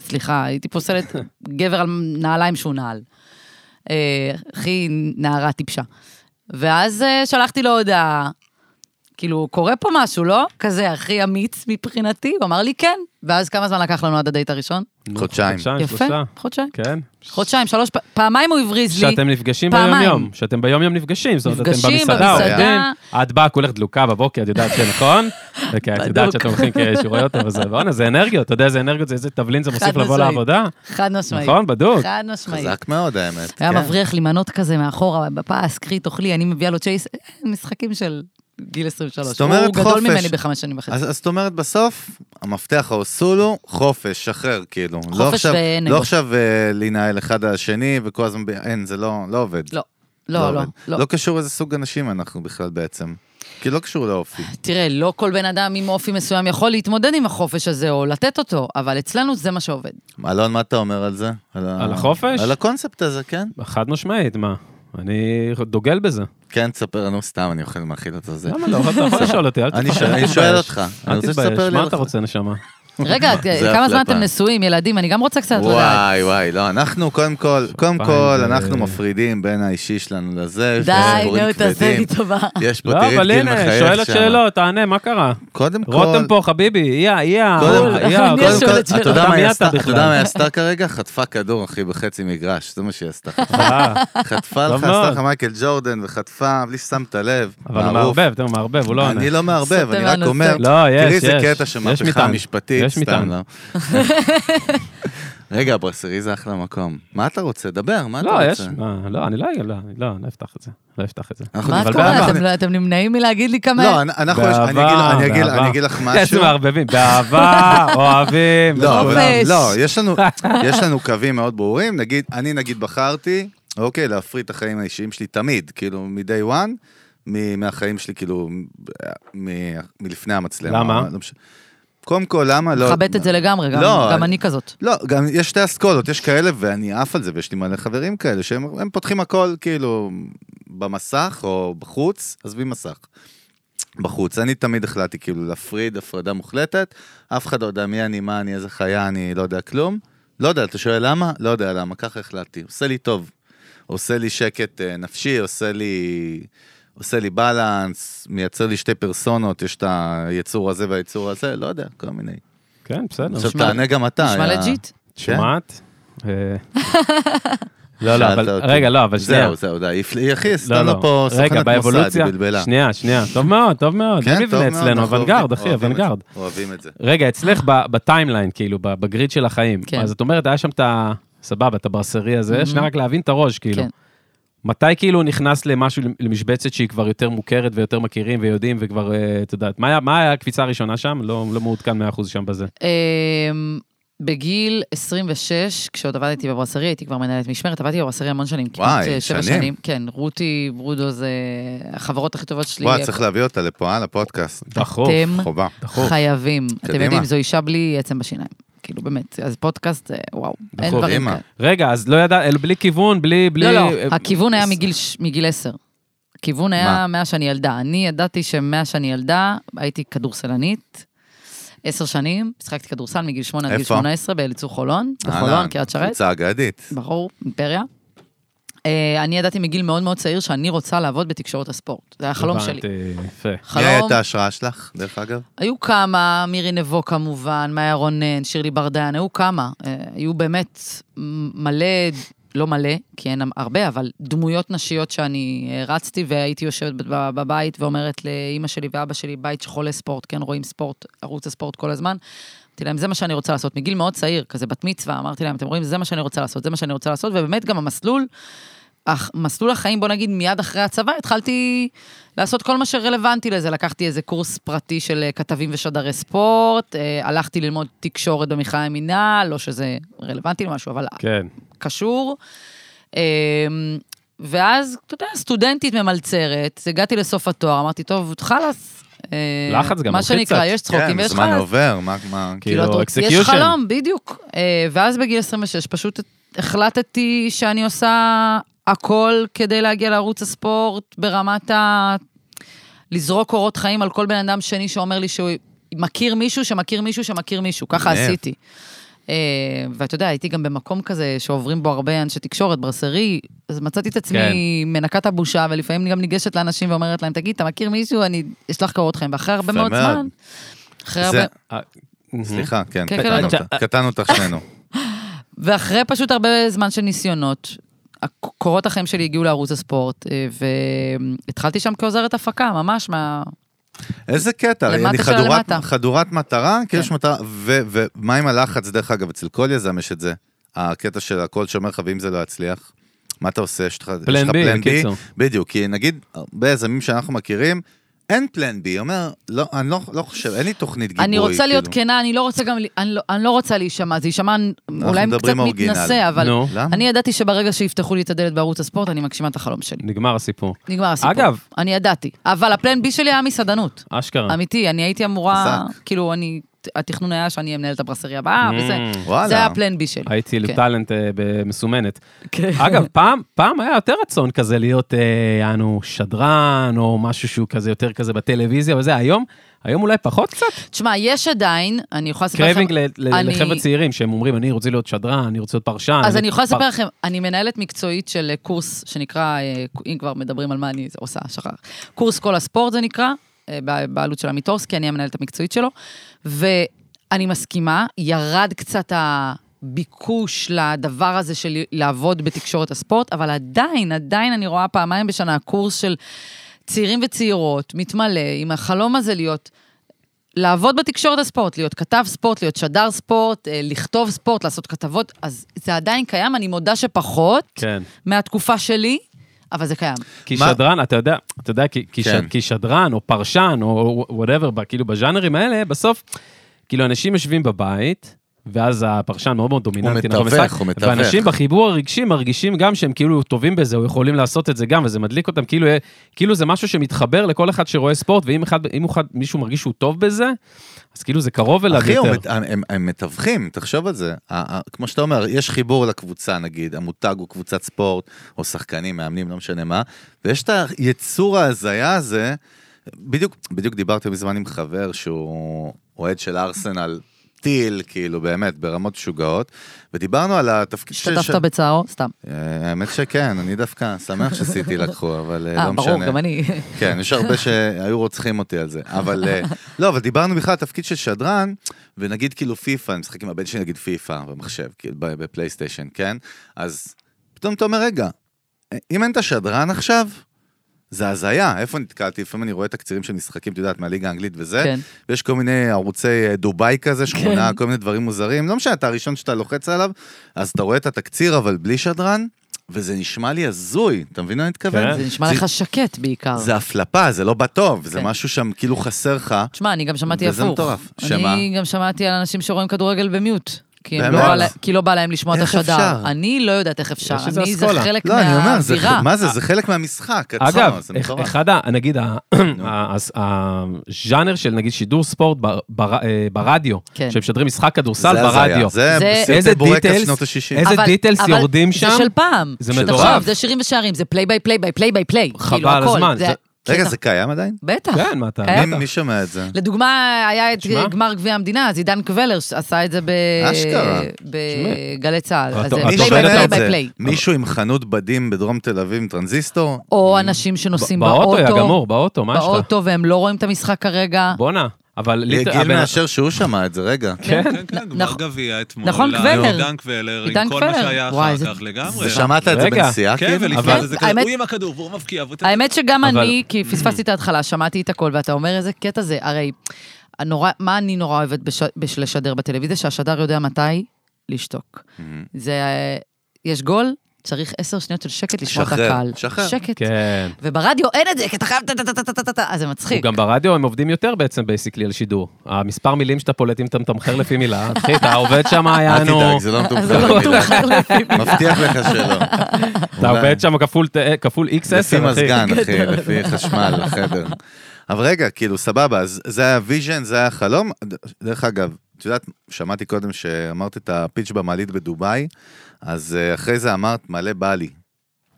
סליחה, הייתי פוסלת גבר על נעליים שהוא נעל. אה, הכי נערה טיפשה. ואז אה, שלחתי לו הודעה, כאילו, קורה פה משהו, לא? כזה הכי אמיץ מבחינתי, הוא אמר לי כן. ואז כמה זמן לקח לנו עד הדייט הראשון? חודשיים. חודשיים, יפה, אה, שלושה. חודשיים. כן. חודשיים, שלוש, פ- פעמיים הוא הבריז לי. שאתם נפגשים פעמיים. ביום-יום, שאתם ביום-יום נפגשים, זאת אומרת, אתם נפגשים במסעדה, במסעדה. עובדים, את באה כולך דלוקה בבוקר, את יודעת שנכון? וכי את בדוק. יודעת שאתם הולכים כשרויות, אבל זה, בואנה, זה אנרגיות, אתה יודע איזה אנרגיות זה, איזה תבלין זה מוסיף חד לבוא משמעית. לעבודה? חד משמעית. נכון, בדוק. חד משמעית. חזק מאוד, האמת. היה כן. מבריח לי מנות כזה מאחורה, בפס, קחי, תאכלי, אני מביאה לו צ'ייס, אה, משחקים של גיל 23. זאת אומרת, הוא חופש. גדול ממני בחמש שנים וחצי. אז אז זאת אומרת, בסוף, המפתח האוסול הוא חופש, שחרר, כאילו. לא חופש עכשיו- ואין לא אגו. עכשיו אה, להינעל אחד על השני, וכל הזמן, ב- אין, זה לא לא עובד. לא, לא, לא, עובד. לא. לא קשור איזה סוג אנשים אנחנו בכלל בעצם. כי לא קשור לאופי. תראה, לא כל בן אדם עם אופי מסוים יכול להתמודד עם החופש הזה או לתת אותו, אבל אצלנו זה מה שעובד. אלון, מה אתה אומר על זה? ה- על החופש? על הקונספט הזה, כן. חד משמעית, מה? אני דוגל בזה. כן, תספר לנו סתם, אני אוכל מאכיל אותו זה. למה לא? אתה יכול לשאול אותי, אל אני תתבייש. שואל- אני שואל אותך. אני אל רוצה תתבייש, שתספר לי מה על אתה עצמך. רוצה, נשמה? רגע, זה כמה זמן החלטה. אתם נשואים, ילדים? אני גם רוצה קצת לדעת. וואי וואי, לא, אנחנו קודם כל, קודם פעם כל, זה- אנחנו מפרידים בין האישי שלנו לזה, יש פה די, סיפורים נו, תעשה כבדים. לי טובה. יש פה, לא, תראי את אבל גיל הנה, שואלת מחייך שם. שאלות, תענה, מה קרה? קודם כל, רותם פה, חביבי, איה, איה, קודם- אול, אני איה, יש קודם אותו- כל, שאלות אתה שאלות. יודע מה מי היא אתה עשתה? אתה בכלל? יודע מה היא עשתה כרגע? חטפה כדור, אחי, בחצי מגרש, זה מה שהיא עשתה. חטפה- אה, חטפה טוב לך, עשתה מאוד. לך מייקל ג'ורדן, וחטפה, בלי ששמת לב. אבל הוא מערוף. מערבב, תראו, מערבב, הוא לא עונה. אני לא מערבב, סותם אני רק לנו אומר, סוט. לא, יש, תראי יש. איזה קטע של יש מהפכה מטען. משפטית, יש מטען. סתם, לא? רגע, ברסרי זה אחלה מקום. מה אתה רוצה? דבר, מה אתה לא, רוצה? יש, מה, לא, אני לא, לא, אני לא, אני לא אפתח את זה, לא אפתח את זה. אנחנו מה את אבל קוראת? באהבה. אתם לא- אתם נמנעים מלהגיד לי כמה... לא, אנ- אנחנו, יש- אני אגיד- באהבה, אני אגיד- אני באהבה. אגיד לך איזה משהו. כן, מערבבים, באהבה, אוהבים. לא, אבל- חופש. לא, יש לנו- יש לנו קווים מאוד ברורים. נגיד, אני נגיד בחרתי, אוקיי, להפריד את החיים האישיים שלי תמיד, כאילו, מ-day one, מ- מהחיים שלי, כאילו, מ- מלפני המצלמה. למה? לא משנה. קודם כל, למה לא... מכבדת את זה לגמרי, גם- לא, גם אני- אני כזאת. לא, גם יש שתי אסכולות, יש כאלה, ואני עף על זה, ויש לי מלא חברים כאלה, שהם הם פותחים הכל, כאילו, במסך או בחוץ, עזבי מסך. בחוץ. אני תמיד החלטתי, כאילו, להפריד הפרדה מוחלטת, אף אחד לא יודע מי אני, מה אני, איזה חיה אני, לא יודע כלום. לא יודע, אתה שואל למה? לא יודע למה, ככה החלטתי. עושה לי טוב. עושה לי שקט אה, נפשי, עושה לי... עושה לי בלנס, מייצר לי שתי פרסונות, יש את היצור הזה והיצור הזה, לא יודע, כל מיני. כן, בסדר. עכשיו לא, נשמע- תענה גם אתה. אה. נשמע יא- לג'יט. שומעת? אה, לא, לא, שאלת אבל, אותי. רגע, לא, אבל שנייה. זהו, זהו, די. היא פל- היא הכי לא, עשתה לא. לו פה רגע, סוכנת מוסד, היא באבולוציה, בלבלה. שנייה, שנייה. טוב מאוד, טוב מאוד. זה כן, טוב מבנה מאוד, אצלנו, אנחנו אוונגרד, אוהבים- אחי, אוהבים את זה, אוונגרד. אוהבים את זה. רגע, אצלך ב- בטיימליין, כאילו, ב- בגריד של החיים. כן. Mm-hmm. אז את אומרת, היה שם את ה... סבבה, את הברסרי הזה, שנייה רק להבין את הראש, כאילו. כן. מתי כאילו הוא נכנס למשהו, למשבצת שהיא כבר יותר מוכרת ויותר מכירים ויודעים וכבר, אה, את יודעת, מה היה- מה היה הקפיצה הראשונה שם? לא לא מעודכן 100% שם בזה. אמ, בגיל 26, כשעוד עבדתי בברסרי, הייתי כבר מנהלת משמרת, עבדתי בברסרי המון שנים, וואי, כמעט אה, שבע שנים. שנים. כן, רותי ברודו זה החברות הכי טובות שלי. וואי, צריך להביא אותה לפה, על הפודקאסט. דחוף. אתם חובה. דחוף. חייבים. אתם קדימה. יודעים, זו אישה בלי עצם בשיניים. כאילו, באמת, אז פודקאסט, אה, וואו, אין דחוף. דברים נכון, אימא. כאלה. רגע, אז לא ידע, אל- בלי כיוון, בלי... בלי- לא, לא, אה, הכיוון היה מגיל ש- מגיל 10. הכיוון היה מה? מאז שאני ילדה. אני ידעתי שמאז שאני ילדה הייתי כדורסלנית. עשר שנים, משחקתי כדורסל מגיל שמונה עד גיל איפה? 18 באליצור חולון, בחולון, אהלן, קריית שרת. קבוצה אגדית. ברור, אימפריה. אה, אני ידעתי מגיל מאוד מאוד צעיר שאני רוצה לעבוד בתקשורת הספורט. זה היה החלום שלי. הבנתי, יפה. מי חלום, הייתה ההשראה שלך, דרך אגב? היו כמה, מירי נבו כמובן, מאיה רונן, שירלי ברדן, היו כמה. אה, היו באמת מלא, לא מלא, כי אין הרבה, אבל דמויות נשיות שאני אה, רצתי, והייתי יושבת בב- בבית ואומרת לאימא שלי ואבא שלי, בית שחולה ספורט, כן רואים ספורט, ערוץ הספורט כל הזמן. אמרתי להם, זה מה שאני רוצה לעשות. מגיל מאוד צעיר, כזה בת מצווה, אמרתי להם, אתם רואים, זה מה שאני רוצה לעשות, זה מה שאני רוצה לעשות, ובאמת גם המסלול... אך מסלול החיים, בוא נגיד, מיד אחרי הצבא, התחלתי לעשות כל מה שרלוונטי לזה. לקחתי איזה קורס פרטי של אה, כתבים ושדרי ספורט, אה, הלכתי ללמוד תקשורת במכללה המינהל, לא שזה רלוונטי למשהו, אבל כן. קשור. אמ, ואז, אתה יודע, סטודנטית ממלצרת, הגעתי לסוף התואר, אמרתי, טוב, חלאס. אה, לחץ גם, מה מלחיץ שנקרא, קצת. יש צחוקים כן, ויש הזמן חלאס. עובר, מה, מה, כאילו, כאילו, את רוצ- יש execution. חלום, בדיוק. אה, ואז בגיל 26 פשוט החלטתי שאני עושה הכל כדי להגיע לערוץ הספורט ברמת ה... לזרוק קורות חיים על כל בן אדם שני שאומר לי שהוא מכיר מישהו שמכיר מישהו שמכיר מישהו. ככה מגניב. עשיתי. אה, ואתה יודע, הייתי גם במקום כזה שעוברים בו הרבה אנשי תקשורת, ברסרי, אז מצאתי את עצמי כן. מנקת הבושה, ולפעמים גם ניגשת לאנשים ואומרת להם, תגיד, אתה מכיר מישהו? אני אשלח קורות חיים. ואחרי הרבה יפה מאוד מאוד. זמן, אחרי הרבה... זה- אה, סליחה, כן, כן, קטענו כן, אותך, קטענו אותך שנינו. ואחרי פשוט הרבה זמן של ניסיונות, הק- קורות החיים שלי הגיעו לערוץ הספורט, אה, והתחלתי שם כעוזרת הפקה, ממש מה... איזה קטע, למטה אני של חדורת- למטה. חדורת מטרה, כאילו כן. יש מטרה, ו- ומה עם הלחץ, דרך אגב, אצל כל יזם יש את זה, הקטע של הכל שאומר לך, ואם זה לא יצליח, מה אתה עושה, יש לך יש לך פלן B, פלן B? בקיצור. בדיוק, כי נגיד, הרבה יזמים שאנחנו מכירים, אין פלן B, אומר, לא, אני לא, לא חושב, אין לי תוכנית גיבוי. אני רוצה להיות כאילו. כנה, אני לא רוצה גם... אני לא- אני לא רוצה להישמע, זה יישמע אולי קצת מדברים אורגינל. מתנשא, אבל... נו, למה? אני ידעתי שברגע שיפתחו לי את הדלת בערוץ הספורט, אני מגשימה את החלום שלי. נגמר הסיפור. נגמר הסיפור. אגב- אה. אני ידעתי. אבל הפלן בי שלי היה מסעדנות. אשכרה. אמיתי, אני הייתי אמורה... חזק. כאילו, אני התכנון היה שאני אהיה מנהלת הברסריה הבאה, וזה... וואלה. זה היה הפלן בי שלי. אה. הייתי כן. לטאלנט אה, ב- מסומנת. כן. אגב, פעם, פעם היה יותר רצון כזה להיות, אה, אנו, שדרן, או משהו שהוא כזה יותר כזה בטלוויזיה וזה, היום, היום אולי פחות קצת. תשמע, יש עדיין, אני יכולה לספר לכם... קרייבינג ל- ל- אני- לחבר'ה צעירים, שהם אומרים, אני רוצה להיות שדרן, אני רוצה להיות פרשן. אז אני יכולה פר- לספר לכם, אני מנהלת מקצועית של אה, קורס שנקרא, אה, אם כבר מדברים על מה אני עושה, שכח. קורס כל הספורט זה נקרא, אה, ב- בעלות של עמיטורסקי, אני המנהלת המקצועית שלו, ואני מסכימה, ירד קצת הביקוש לדבר הזה של לעבוד בתקשורת הספורט, אבל עדיין, עדיין אני רואה פעמיים בשנה קורס של צעירים וצעירות, מתמלא עם החלום הזה להיות... לעבוד בתקשורת הספורט, להיות כתב ספורט, להיות שדר ספורט, אה, לכתוב ספורט, לעשות כתבות, אז זה עדיין קיים, אני מודה שפחות כן. מהתקופה שלי, אבל זה קיים. כי מה- שדרן, אתה יודע, אתה יודע, כי, כי, כן. ש, כי שדרן או פרשן או וואטאבר, כאילו בז'אנרים האלה, בסוף, כאילו אנשים יושבים בבית, ואז הפרשן מאוד מאוד דומיננטי. הוא נכון, מתווך, במשחק, הוא מתווך. ואנשים בחיבור הרגשי מרגישים גם שהם כאילו טובים בזה, או יכולים לעשות את זה גם, וזה מדליק אותם, כאילו, כאילו זה משהו שמתחבר לכל אחד שרואה ספורט, ואם אחד, אם אחד, מישהו מרגיש שהוא טוב בזה, אז כאילו זה קרוב אליו אחי, יותר. הוא מת- הם- הם- הם מתווכים, תחשוב על זה. ה- ה- כמו שאתה אומר, יש חיבור לקבוצה נגיד, המותג הוא קבוצת ספורט, או שחקנים, מאמנים, לא משנה מה, ויש את היצור ההזיה הזה, בדיוק, בדיוק דיברתי מזמן עם חבר שהוא אוהד של ארסנל. טיל, כאילו, באמת, ברמות משוגעות, ודיברנו על התפקיד ש- ש- השתתפת בצערו? סתם. אה, האמת שכן, אני דווקא שמח שסיטי לקחו, אבל אה, אה, לא משנה. ברור, גם אני. כן, יש הרבה שהיו רוצחים אותי על זה. אבל אה, לא, אבל דיברנו בכלל על תפקיד של שדרן, ונגיד כאילו פיפא, אני משחק עם הבן שלי נגיד פיפא במחשב, כאילו ב- בפלייסטיישן, כן? אז פתאום אתה אומר, רגע, אם אין את השדרן עכשיו, זה הזיה, איפה נתקלתי? לפעמים אני רואה תקצירים של משחקים, את יודעת, מהליגה האנגלית וזה, כן. ויש כל מיני ערוצי אה, דובאי כזה, שכונה, כל מיני דברים מוזרים, לא משנה, אתה הראשון שאתה לוחץ עליו, אז אתה רואה את התקציר, אבל בלי שדרן, וזה נשמע לי הזוי, אתה מבין מה אני מתכוון? כן. זה נשמע לך שקט בעיקר. זה הפלפה, זה לא בא טוב, זה אה. כן. משהו שם כאילו חסר לך. תשמע, אני גם שמעתי הפוך. וזה מטורף. שמה? אני גם שמעתי על אנשים שרואים כדורגל במיוט. כי, הם לא באמת? בא, לה- כי לא בא להם לשמוע את איך השדר. אפשר? אני לא יודעת איך אפשר. יש איזה אני, זה אסכולה. חלק לא, אני אומר, זה, מהאווירה. אה. מה זה, זה חלק מהמשחק, עצמו, אגב, זה אח- מטורף. אחד, ה- אה, נגיד, ה- ה- הס- הז'אנר של נגיד שידור ספורט ב- בר- אה, ברדיו, כן. שמשדרים משחק כדורסל זה הזיה, ברדיו. זה זה- סרטי איזה בורקס details, שנות ה-שישים. איזה אבל- דיטלס אבל יורדים שם. זה של פעם. זה של מטורף. תחשוב, זה שירים ושערים, זה פליי ביי פליי ביי פליי ביי פליי. חבל כאילו, הכל. הזמן, זה- רגע, קטע. זה קיים עדיין? בטח. כן, מה אתה... קיים. מי- מי שומע את זה? לדוגמה, היה את שמע. גמר גביע המדינה, אז עידן קבלר עשה את זה ב... אשכרה. בגלי צה"ל. את- אז זה את פליי ביי אומרת את זה. פליי ביי פליי. מישהו עם חנות בדים בדרום תל אביב עם טרנזיסטור? או Mm. אנשים שנוסעים באוטו, יא באוטו, גמור, באוטו, מה יש לך? באוטו, והם לא רואים את המשחק כרגע. בואנה, אבל... ליטר- גיל הבן- מאשר שהוא שמע את זה, רגע. כן. כן, כן, גמר נכון. גביע אתמול. נכון, לא, קבלר. עידן קבלר, עידן עם כל מה קבלר. שהיה וואי, אחר זה- כך לגמרי. ושמעת את זה רגע. בנסיעה? כן, כאילו? ולפני אבל- זה זה כזה, האמת- הוא עם הכדור והוא מבקיע. ואתה- האמת שגם אבל- אני, כי פספסתי את ההתחלה, שמעתי את הכל, ואתה אומר איזה קטע זה, הרי, הנורא- מה אני נורא אוהבת בש- בש- לשדר בטלוויזיה? שהשדר יודע מתי לשתוק. Mm-hmm. זה, אה, יש גול, צריך עשר שניות של שקט לשמוע את שחרר, הקהל. שחרר. שקט. כן. וברדיו אין את זה, כי אתה חייב טה-טה-טה-טה-טה-טה, אז זה מצחיק. גם ברדיו הם עובדים יותר בעצם בייסיקלי על שידור. המספר מילים שאתה פולט, אם אתה מתמחר לפי מילה, אחי, אתה עובד שם, אל יענו, תדאג, זה לא זה מתומחר. לא מתומחר לפי מבטיח לך שלא. אתה אולי. עובד שם כפול ת- אה, כפול איקס לפי עשר, אחי. מזגן, אחי, לפי חשמל, חדר. אבל רגע, כאילו, סבבה, אז זה היה ויז'ן, זה היה החלום. ד- דרך אגב, את יודעת, שמעתי קודם שאמרת את הפיץ' במעלית בדובאי, אז אה, אחרי זה אמרת מלא בא לי.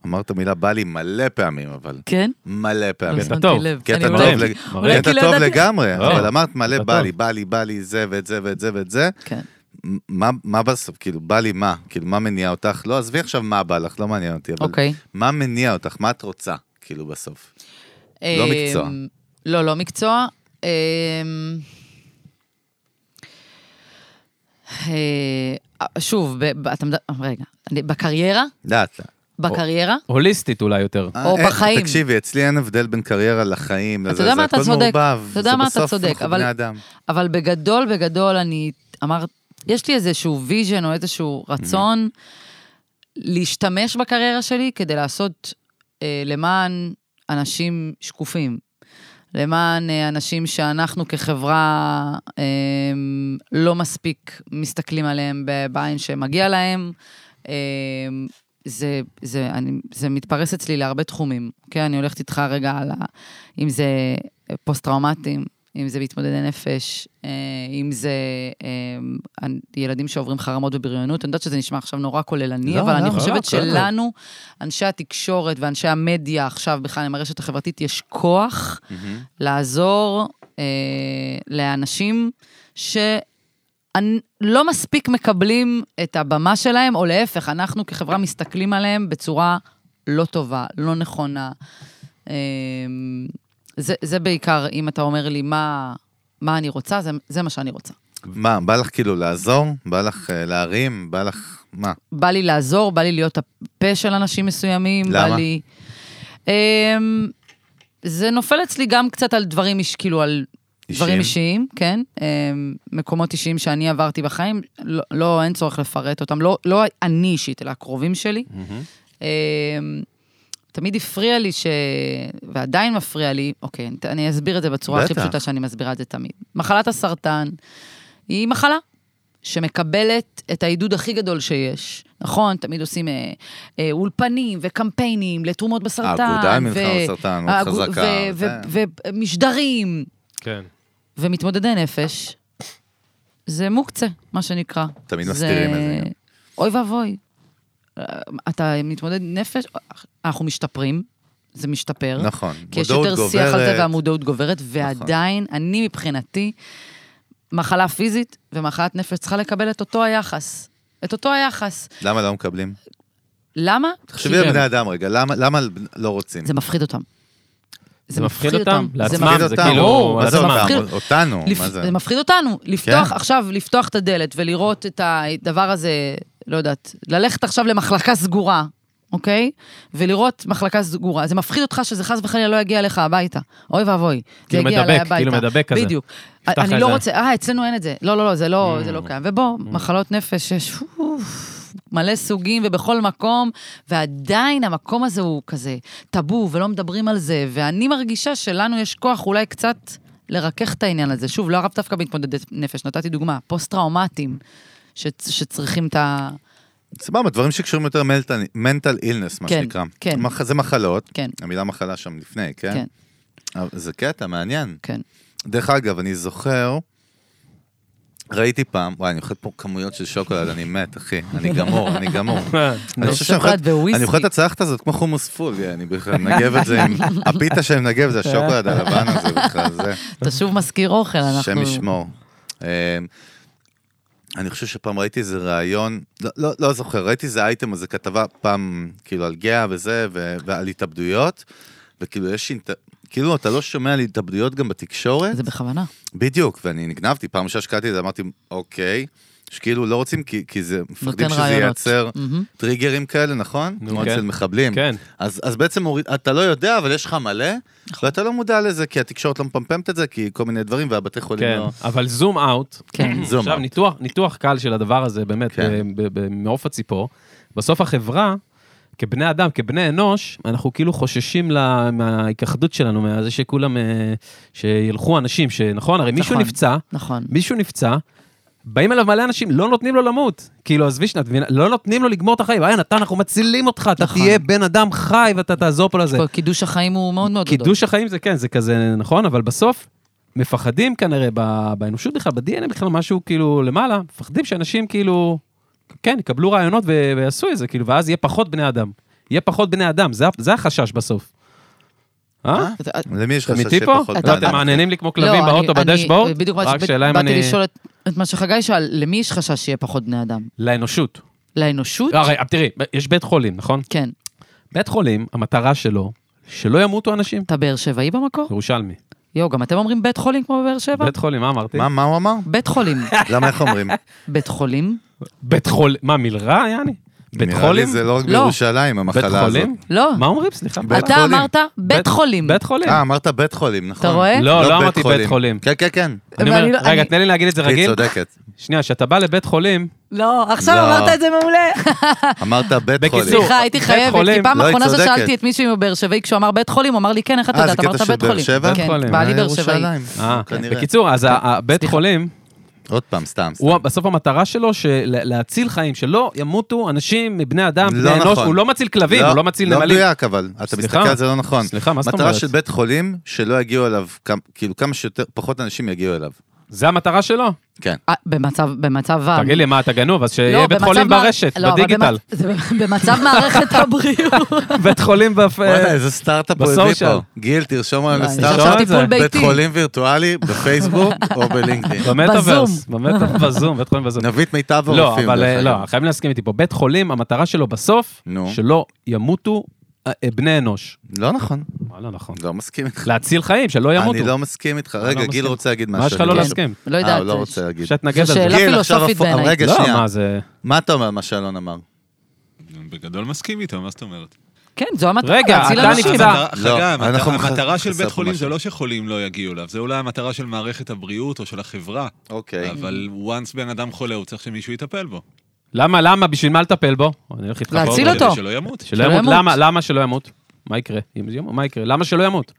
אמרת מילה בא לי מלא פעמים, אבל. כן? מלא לא פעמים. קטע שמתי טוב, לב. קטע אני טוב, אולי- מראה. לג- מראה. כי קטע לא טוב ידעתי- לגמרי, לא. אבל אמרת מלא קטע בא טוב. לי, בא לי, בא לי זה ואת זה ואת זה ואת זה. כן. מה, מה בסוף, כאילו, בא לי מה? כאילו, מה מניע אותך? לא, עזבי עכשיו מה בא לך, לא מעניין אותי, אבל אוקיי. מה מניע אותך? מה את רוצה, כאילו, בסוף? לא אמ, מקצוע. לא, לא מקצוע. אמ, אה, שוב, ב- ב- אתה מדבר, רגע, אני- בקריירה? לאט לאט. בקריירה? הוליסטית אולי יותר. או אה, בחיים. תקשיבי, אצלי אין הבדל בין קריירה לחיים, לזה, יודע זה מה, אתה הכל צודק. מעורבב. אתה יודע זה מה, אתה בסוף צודק, אנחנו אבל- בני אדם. אבל בגדול, בגדול, אני אמרת, יש לי איזשהו ויז'ן או איזשהו רצון להשתמש בקריירה שלי כדי לעשות אה, למען אנשים שקופים, למען אה, אנשים שאנחנו כחברה אה, לא מספיק מסתכלים עליהם ב- בעין שמגיע להם. אה, זה, זה, אני, זה מתפרס אצלי להרבה תחומים, אוקיי? אני הולכת איתך רגע על ה... אם זה אה, פוסט-טראומטיים, אם זה מתמודדי נפש, אה, אם זה אה, ילדים שעוברים חרמות ובריונות. אני יודעת שזה נשמע עכשיו נורא כוללני, לא, אבל לא, אני לא, חושבת לא, לא. שלנו, אנשי התקשורת ואנשי המדיה עכשיו, בכלל עם הרשת החברתית, יש כוח לעזור אה, לאנשים שלא לא מספיק מקבלים את הבמה שלהם, או להפך, אנחנו כחברה מסתכלים עליהם בצורה לא טובה, לא נכונה. אה, זה, זה בעיקר, אם אתה אומר לי מה, מה אני רוצה, זה, זה מה שאני רוצה. מה, בא לך כאילו לעזור? בא לך אה, להרים? בא לך... מה? בא לי לעזור, בא לי להיות הפה של אנשים מסוימים, בא למה? לי... אמ, זה נופל אצלי גם קצת על דברים, איש, כאילו על אישיים? דברים אישיים, כן? אמ, מקומות אישיים שאני עברתי בחיים, לא, לא אין צורך לפרט אותם, לא, לא אני אישית, אלא הקרובים שלי. אמ, תמיד הפריע לי ש... ועדיין מפריע לי, אוקיי, אני אסביר את זה בצורה הכי בטח. פשוטה שאני מסבירה את זה תמיד. מחלת הסרטן היא מחלה שמקבלת את העידוד הכי גדול שיש. נכון, תמיד עושים אה, אה, אולפנים וקמפיינים לתרומות בסרטן. האגודה למלחמה בסרטן, מאוד האגו- חזקה, ו- ו- ומשדרים כן. ומתמודדי נפש. זה מוקצה, מה שנקרא. תמיד זה- מסתירים את זה גם. אוי ואבוי. אה, אתה מתמודד נפש, אנחנו משתפרים, זה משתפר. נכון. לא. כי יש מודעות יותר שיח על זה גוברת. נכון. והמודעות גוברת, ועדיין, אני מבחינתי, מחלה פיזית ומחלת נפש צריכה לקבל את אותו היחס. את אותו היחס. למה לא מקבלים? למה? תחשבי כי כן. על בני אדם רגע, למה- למה לא רוצים? כן. זה מפחיד אותם. זה מפחיד אותם? זה לעצמם? מפחיד זה אותם, כאילו, או- מה זה לעצמם. אותם? מפחיד- אותנו, לפ... מה זה? זה מפחיד אותנו, לפתוח כן. עכשיו, לפתוח את הדלת ולראות את הדבר הזה, לא יודעת, ללכת עכשיו למחלקה סגורה, אוקיי? ולראות מחלקה סגורה. זה מפחיד אותך שזה חס וחלילה לא יגיע אליך הביתה. אוי ואבוי, זה כאילו יגיע אליי מדבק, הביתה. כאילו מדבק כזה. בדיוק. יפתח אני לך לא איזה- רוצה, אה, אצלנו אין את זה. לא, לא, לא, זה לא, זה לא קיים. ובוא, מחלות נפש, יש אוף, מלא סוגים ובכל מקום, ועדיין המקום הזה הוא כזה טאבו ולא מדברים על זה, ואני מרגישה שלנו יש כוח אולי קצת לרכך את העניין הזה. שוב, לא הרב דווקא בהתמודדי נפש, נתתי דוגמה, פוסט-טראומטיים, ש- שצריכים את ה... סבבה, דברים שקשורים יותר מנטל- mental illness, מה כן, שנקרא. כן. מח- זה מחלות, כן. המילה מחלה שם לפני, כן? כן, אבל זה קטע מעניין. כן. דרך אגב, אני זוכר, ראיתי פעם, וואי, אני אוכל פה כמויות של שוקולד, אני מת, אחי, אני גמור, אני גמור. כן. אני חושב שאני שוקולד אוכל- וויסקי. אני אוכל את הצלחת הזאת כמו חומוס פול, אני בכלל מנגב את זה עם... הפיתה שאני מנגב זה השוקולד הלבן הזה בכלל, זה. אתה שוב מזכיר אוכל, אנחנו... השם ישמור. אמ, אני חושב שפעם ראיתי איזה ראיון, לא, לא, לא זוכר, ראיתי איזה אייטם, איזה כתבה פעם, כאילו על גאה וזה, ו, ועל התאבדויות, וכאילו יש, אינט... כאילו אתה לא שומע על התאבדויות גם בתקשורת, זה בכוונה. בדיוק, ואני נגנבתי, פעם ראשונה שקראתי את זה אמרתי, אוקיי, שכאילו לא רוצים, כי, כי זה, מפחדים שזה רעיונות. ייצר מהמם. טריגרים כאלה, נכון? נו, כמו כן. אצל מחבלים. כן. אז, אז בעצם מוריד, אתה לא יודע, אבל יש לך מלא, נכון. ואתה לא מודע לזה, כי התקשורת לא מפמפמת את זה, כי כל מיני דברים, והבתי חולים כן, לא... אבל זום אאוט, כן. זום עכשיו אאוט. ניתוח, ניתוח קל של הדבר הזה, באמת, כן. ב- ב- ב- מעוף הציפור. בסוף החברה, כבני אדם, כבני אנוש, אנחנו כאילו חוששים לה- מההיכחדות שלנו, מזה שכולם, אה, שילכו אנשים, שנכון, הרי מישהו נכון. נפצע, נכון. מישהו נפצע, באים אליו מלא אנשים, לא נותנים לו למות. כאילו, עזבי שנייה, את מבינה? לא נותנים לו לגמור את החיים. היי, נתן, אנחנו מצילים אותך, אתה נכון. תהיה בן אדם חי ואתה תעזור פה לזה. פה קידוש החיים הוא מאוד מאוד גדול. קידוש החיים זה כן, זה כזה נכון, אבל בסוף מפחדים כנראה ב- באנושות בכלל, ב-DNA בכלל משהו כאילו למעלה, מפחדים שאנשים כאילו, כן, יקבלו רעיונות ו- ויעשו את זה, כאילו, ואז יהיה פחות בני אדם. יהיה פחות בני אדם, זה, ה- זה החשש בסוף. אה? אתה- למי יש אתם חשש איתי פה? שפחות... לא, אתם בנאדם? מעניינים לי כמו כלבים באוטו, בדשבורד? לא, בדיוק מה רק שבאת- שאלה אם באתי אני... לשאול את- את מה שחגי שאל, למי יש חשש שיהיה פחות בני אדם? לאנושות. לא, לאנושות? הרי, אה, תראי, יש בית חולים, נכון? כן. בית חולים, המטרה שלו, שלא ימותו אנשים. אתה באר שבעי במקור? ירושלמי. יואו, גם אתם אומרים בית חולים כמו בבאר שבע? בית חולים, מה אמרתי? מה, מה הוא אמר? בית חולים. למה איך אומרים? בית חולים? בית חולים, מה, מילרע, יעני? בית נראה לי חולים? זה לא רק לא. בירושלים, בית המחלה הזאת. חולים? לא. מה אומרים? סליחה. בית אתה חולים. אמרת בית חולים. בית חולים. אה, אמרת בית חולים, נכון. רואה? לא, לא בית אמרתי בית חולים. כן, אוקיי, כן, כן. אני אבל אני לא- אומר, רגע, אני- תני לי להגיד את זה היא רגיל. צודקת. שנייה, כשאתה בא לבית חולים, לא, לא. זה מעולה. אמרת בית בקיצור, חולים. סליחה, הייתי בית חייבת, כי חולים. פעם לא, היא האחרונה צודקת. ששאלתי את מישהו אם הוא באר שבעי, כשהוא אמר בית חולים, הוא אמר לי, כן, איך אתה אה, זה יודעת? אמרת קטע של בית באר חולים. שבע? בית כן, חולים. בעלי אה, באר שבעי. ירושלים. אה, כנראה. בקיצור, אז ה- ה- בית סליחה. חולים, עוד פעם, סתם, סתם. הוא, בסוף המטרה שלו, של- להציל חיים, שלא ימותו אנשים מבני אדם, לא בני אנוש, נכון. הוא לא מציל כלבים, הוא לא מציל לא נמלים. מדויק, אבל. אתה סליחה? מסתכל על זה לא נכון. סליחה, מה זאת מטרה אומרת? של בית חולים, שלא יגיעו אליו, כמה- כאילו כמה שיותר, פחות אנשים יגיעו אליו. זה המטרה שלו? כן. אה, במצב, במצב... ה- תגיד לי, מה, אתה גנוב? אז אה, לא, שיהיה בית במצב חולים מער- ברשת, לא, אבל בדיגיטל. במצ- זה במצב מערכת הבריאות. בית חולים בפ... וואלה, איזה סטארט-אפ הוא הביא אה, בסושיאל. פה. גיל, תרשום לא, עלינו יש סתם עכשיו שומע את סטארט-אפ. זה. טיפול בית ביתי. חולים וירטואלי, בפייסבוק או בלינקדאין. במטאוורס. במטאוורס, בזום, בית חולים בזום. נביא את מיטב לא, הרופאים. אבל דרך אה, אגב. לא, חייבים להסכים איתי פה. בית חולים, המטרה שלו בסוף, נו. שלא ימותו אה, אה, בני אנוש. לא נכון. וואלה, נכון. לא מסכים איתך. להציל חיים, שלא ימותו. אני לא מסכים איתך. לא רגע, מסכים. גיל רוצה להגיד משהו. מה יש לך לא אני חושב. להסכים? לא אה, יודעת. הוא לא רוצה להגיד. שתתנגד על זו זה. שאלה גיל, עכשיו פילוסופית הפוך- בעיניי. רגע, לא, שנייה. מה זה... מה אתה אומר על מה שאלון אמר? בגדול מסכים איתו, מה זאת אומרת? כן, זו המטרה, רגע, להציל אתה אנשים. נפצע. המטרה- חגי, המטרה- לא, אנחנו מח- המטרה של חסר בית פה חולים זה משהו. לא שחולים לא יגיעו אליו, זה אולי המטרה של מערכת הבריאות או של החברה, אוקיי. אה, אבל once בן אדם חולה, הוא צריך שמישהו יטפל בו. למה, למה, בשביל מה לטפל בו? אני הולך איתך. להציל פה. אותו. כדי שלא ימות. שלא שלא ימות. ימות. למה, למה שלא ימות? מה יקרה? אם זה ימות, מה יקרה? למה שלא ימות?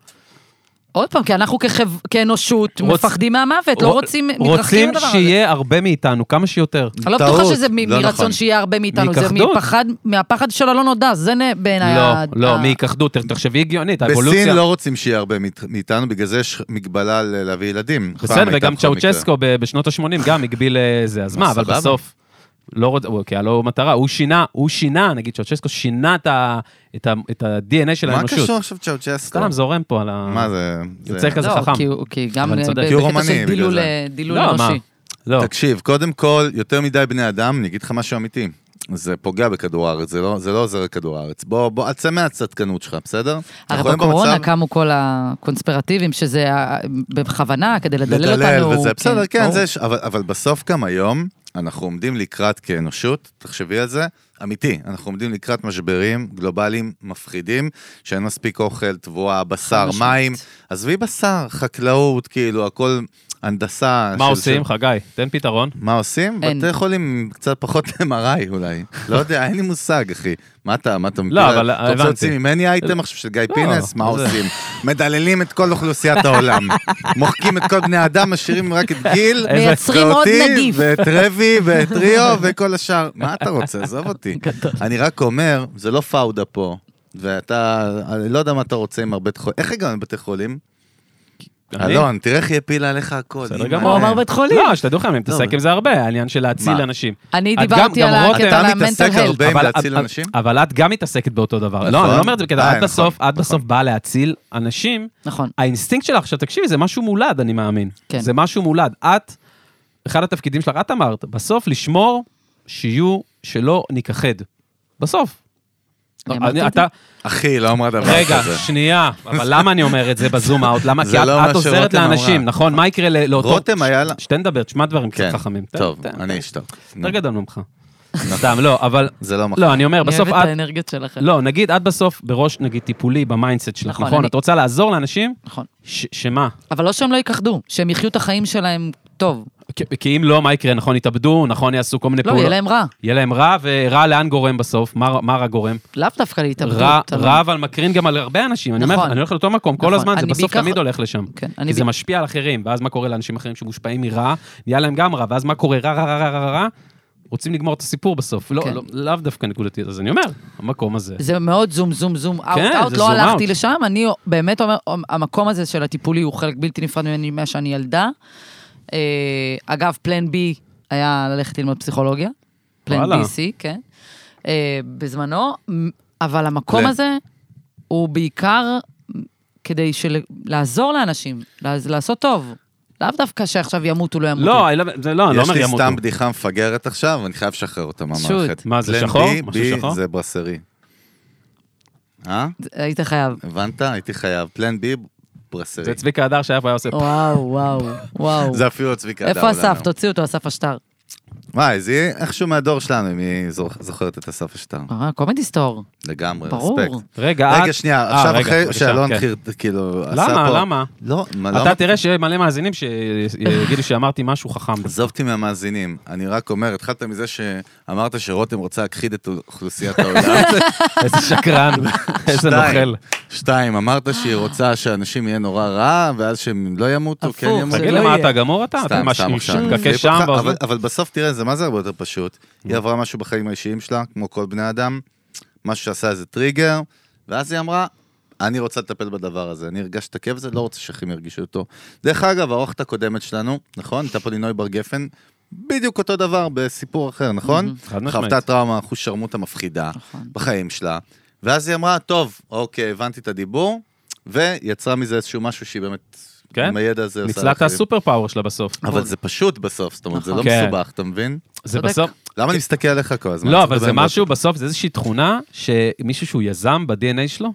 עוד פעם, כי אנחנו כחב- כאנושות רוצ- מפחדים מהמוות, לא רוצים, מתרחקים רוצים לדבר הזה. שיהיה הרבה מאיתנו, כמה שיותר. אני לא טעות, בטוחה שזה מ- לא מרצון נכון. שיהיה הרבה מאיתנו, זה מהיכחדות. מפחד, מהפחד של הלא נודע, זה נ- בעיניי... לא, ה- לא, ה- מהיכחדות, תחשבי הגיונית, האבולוציה. בסין לא רוצים שיהיה הרבה מאית- מאיתנו, בגלל זה יש מגבלה ל- להביא ילדים. פעם בסדר, הייתה וגם בכל מקרה. צ'אוצ'סקו ב- בשנות ה-80 גם הגביל אה, זה, אז מה, אבל סבבה. בסוף, לא רוצה, אוקיי, הלא הוא מטרה, הוא שינה, הוא שינה, נגיד צ'אוצ'סקו שינה את ה- את ה- את ה-DNA של מה האנושות. קשור עכשיו צ'אוצ'סקו? סתם זורם פה על ה... מה זה? זה- יוצא כזה לא, חכם. כי הוא- כי גם אבל ב- צודק. כי הוא בקטע רומני, של בגלל דילול זה. אה, דילול לא, מה? אנושי. לא, תקשיב, קודם כל, יותר מדי בני אדם, אני אגיד לך משהו אמיתי. זה פוגע בכדור הארץ, זה לא, זה לא עוזר לכדור הארץ. בוא, בוא, אל תצא מהצדקנות שלך, בסדר? אנחנו הרי היום בקורונה במצב- קמו כל הקונספירטיבים, שזה ה- בכוונה, כדי לדלל אותנו. לדלל וזה, בסדר, כן, ברור. זה, יש- אבל, אבל בסוף גם היום, אנחנו עומדים לקראת כאנושות, תחשבי על זה, אמיתי, אנחנו עומדים לקראת משברים גלובליים מפחידים, שאין מספיק אוכל, תבואה, בשר, משמעית. מים, עזבי בשר, חקלאות, כאילו, הכל הנדסה. מה של- עושים, חגי? תן פתרון. מה עושים? אין. בתי חולים קצת פחות MRI אולי. לא יודע, אין לי מושג, אחי. מה אתה, מה אתה מכיר? לא, אבל אה, אתה רוצה הבנתי. להוציא ממני אייטם עכשיו של גיא לא, פינס? מה זה- עושים? מדללים את כל אוכלוסיית העולם. מוחקים את כל בני האדם, משאירים רק את גיל. איזה- מייצרים עוד ואותי, נגיף. ואת רבי, ואת ריו, וכל השאר. מה אתה רוצה? עזוב אותי. אני רק אומר, זה לא פאודה פה. ואתה, אני לא יודע מה אתה רוצה עם הרבה חולים. איך הגענו לבתי חולים? אני? אלון, תראה איך היא הפילה עליך הכל. בסדר אימא, גמור. הוא אין. אמר בית חולים. לא, שתדעו לכם, אני מתעסק לא. עם זה הרבה, העניין של להציל מה? אנשים. אני את דיברתי גם- על גם רותם- הקטע על אתה המנטל מתעסק הלט. הרבה עם אבל- להציל אבל- אנשים? אבל את גם מתעסקת באותו דבר. נכון. לא, אני לא אומר את זה אה, בקטע, את נכון, בסוף, את נכון. בסוף באה להציל אנשים. נכון. האינסטינקט שלך, עכשיו תקשיבי, זה משהו מולד, אני מאמין. כן. זה משהו מולד. את, אחד התפקידים שלך, את אמרת, בסוף לשמור שיהיו, שלא ניכחד. בסוף. אני אמרתי לא, אני- את זה? אתה, אחי, לא אמרה דבר רגע, כזה. שנייה, אבל למה אני אומר את זה בזום אאוט? למה? זה כי את- לא את מה עוזרת שרותם לאנשים, אמרה. נכון? מה יקרה ל- לאותו... רותם היה לה- שתן לדבר, תשמע דברים קצת כן, חכמים. תן- טוב, תן- אני תן. אשתוק. נו, יותר גדול ממך. סתם, לא, אבל... זה לא מחר. לא, אני אומר, אני בסוף אוהבת את את... האנרגיות שלכם. לא, נגיד את בסוף בראש, נגיד, טיפולי במיינדסט שלך, נכון, נכון? אני- את רוצה לעזור לאנשים? נכון. ש- שמה? אבל לא שהם לא ייכחדו, שהם יחיו את החיים שלהם טוב. כי- כי אם לא, מה יקרה? נכון, יתאבדו, נכון, יעשו כל מיני לא, יהיה פעולות. להם רע. יהיה להם רע, ורע לאן גורם בסוף? מה מה רע גורם? לאו דווקא להתאבדות. לא- רע, אבל- רע, אבל מקרין גם על הרבה אנשים. אני אומר, לך, נכון. אני הולך לאותו מקום כל נכון. הזמן, זה אני בסוף בעיקר- תמיד הולך לשם. כן, אני כי זה בעיקר- משפיע על אחרים, ואז מה קורה לאנשים אחרים שמושפעים מרע? נהיה להם גם רע, ואז מה קורה? רע, רע, רע, רע, רע, רע? רוצים לגמור את הסיפור בסוף. לא, כן. לא- לאו דווקא נקודתית, אז אני אומר, המקום הזה. זה מאוד זום, זום, זום, אאוט, כן, אאוט, זה לא זום הלכתי out. לשם, אני באמת אומר, המקום הזה של הטיפולי הוא חלק בלתי נפרד ממני מאז שאני ילדה. אה, אגב, פלן בי היה ללכת ללמוד פסיכולוגיה. פלן וואלה. בי סי, כן. אה, בזמנו, מ- אבל המקום פלן. הזה הוא בעיקר כדי של... לעזור לאנשים, לע- לעשות טוב. לאו דווקא שעכשיו ימותו, לא ימותו. לא, אני לא- זה לא, אני לא יש אומר לי ימותו. סתם בדיחה מפגרת עכשיו, אני חייב לשחרר אותה שוט. מהמערכת. מה, זה פלן שחור? B, משהו B שחור? זה ברסרי. אה? היית חייב. הבנת? הייתי חייב. פלן בי, זה ברסרי. צביקה הדר שהיה פה, היה עושה... פ- וואו, וואו, וואו. זה אפילו צביקה אדם. איפה אסף? תוציאו אותו, אסף השטר. וואי, זה יהיה איכשהו מהדור שלנו, אם היא זוכ- זוכרת את אסף השטר. אה, קומדי סטור. לגמרי, ברור. רספקט. רגע, את... רגע, שנייה, אה, עכשיו רגע, אחרי בבקשה, שאלון כן. חיר, כאילו, עשה פה... למה? למה? לא, מה, למה? אתה תראה שיהיה מלא מאזינים שיגידו שאמרתי משהו חכם. עזוב אותי מהמאזינים, אני רק אומר, התחלת מזה שאמרת שרותם רוצה להכחיד את אוכלוסיית העולם. איזה שקרן, איזה שתיים, נוכל. שתיים, אמרת שהיא רוצה שאנשים יהיה נורא רע, ואז שהם לא ימותו, הפוך, כן זה ימותו. תגיד לא למה יהיה. אתה גמור אתה? אתה סתם, ממש סתם עכשיו. אני מתקש מפליפ שם Mm. אותך, באוזן? אבל- אבל בסוף תראה, זה מה זה הרבה יותר פשוט. היא עברה משהו בחיים האישיים שלה, כמו כל בני אדם, משהו שעשה איזה טריגר, ואז היא אמרה, אני רוצה לטפל בדבר הזה, אני הרגשתי את הכאב הזה, לא רוצה שאחרים ירגישו אותו. דרך אגב, האורחת הקודמת שלנו, נכון? הייתה פה לינוי בר גפן, בדיוק אותו דבר בסיפור אחר, נכון? Mm-hmm. חד משמעית. חוותה טראומה, אחושרמוטה מפחידה נכון. בחיים שלה, ואז היא אמרה, טוב, אוקיי, הבנתי את הדיבור, ויצרה מזה איזשהו משהו שהיא באמת, כן? עם הידע הזה עושה ניצלה את לאחרים. הסופר פאוור שלה בסוף. אבל זה פשוט בסוף, זאת אומרת, זה לא נכון. כן. מסובך, אתה מבין? זה צודק. בסוף, למה אני מסתכל עליך כל הזמן? לא, אתה אבל מדבר זה עם משהו, בסוף זה איזושהי תכונה שמישהו שהוא יזם ב-DNA שלו,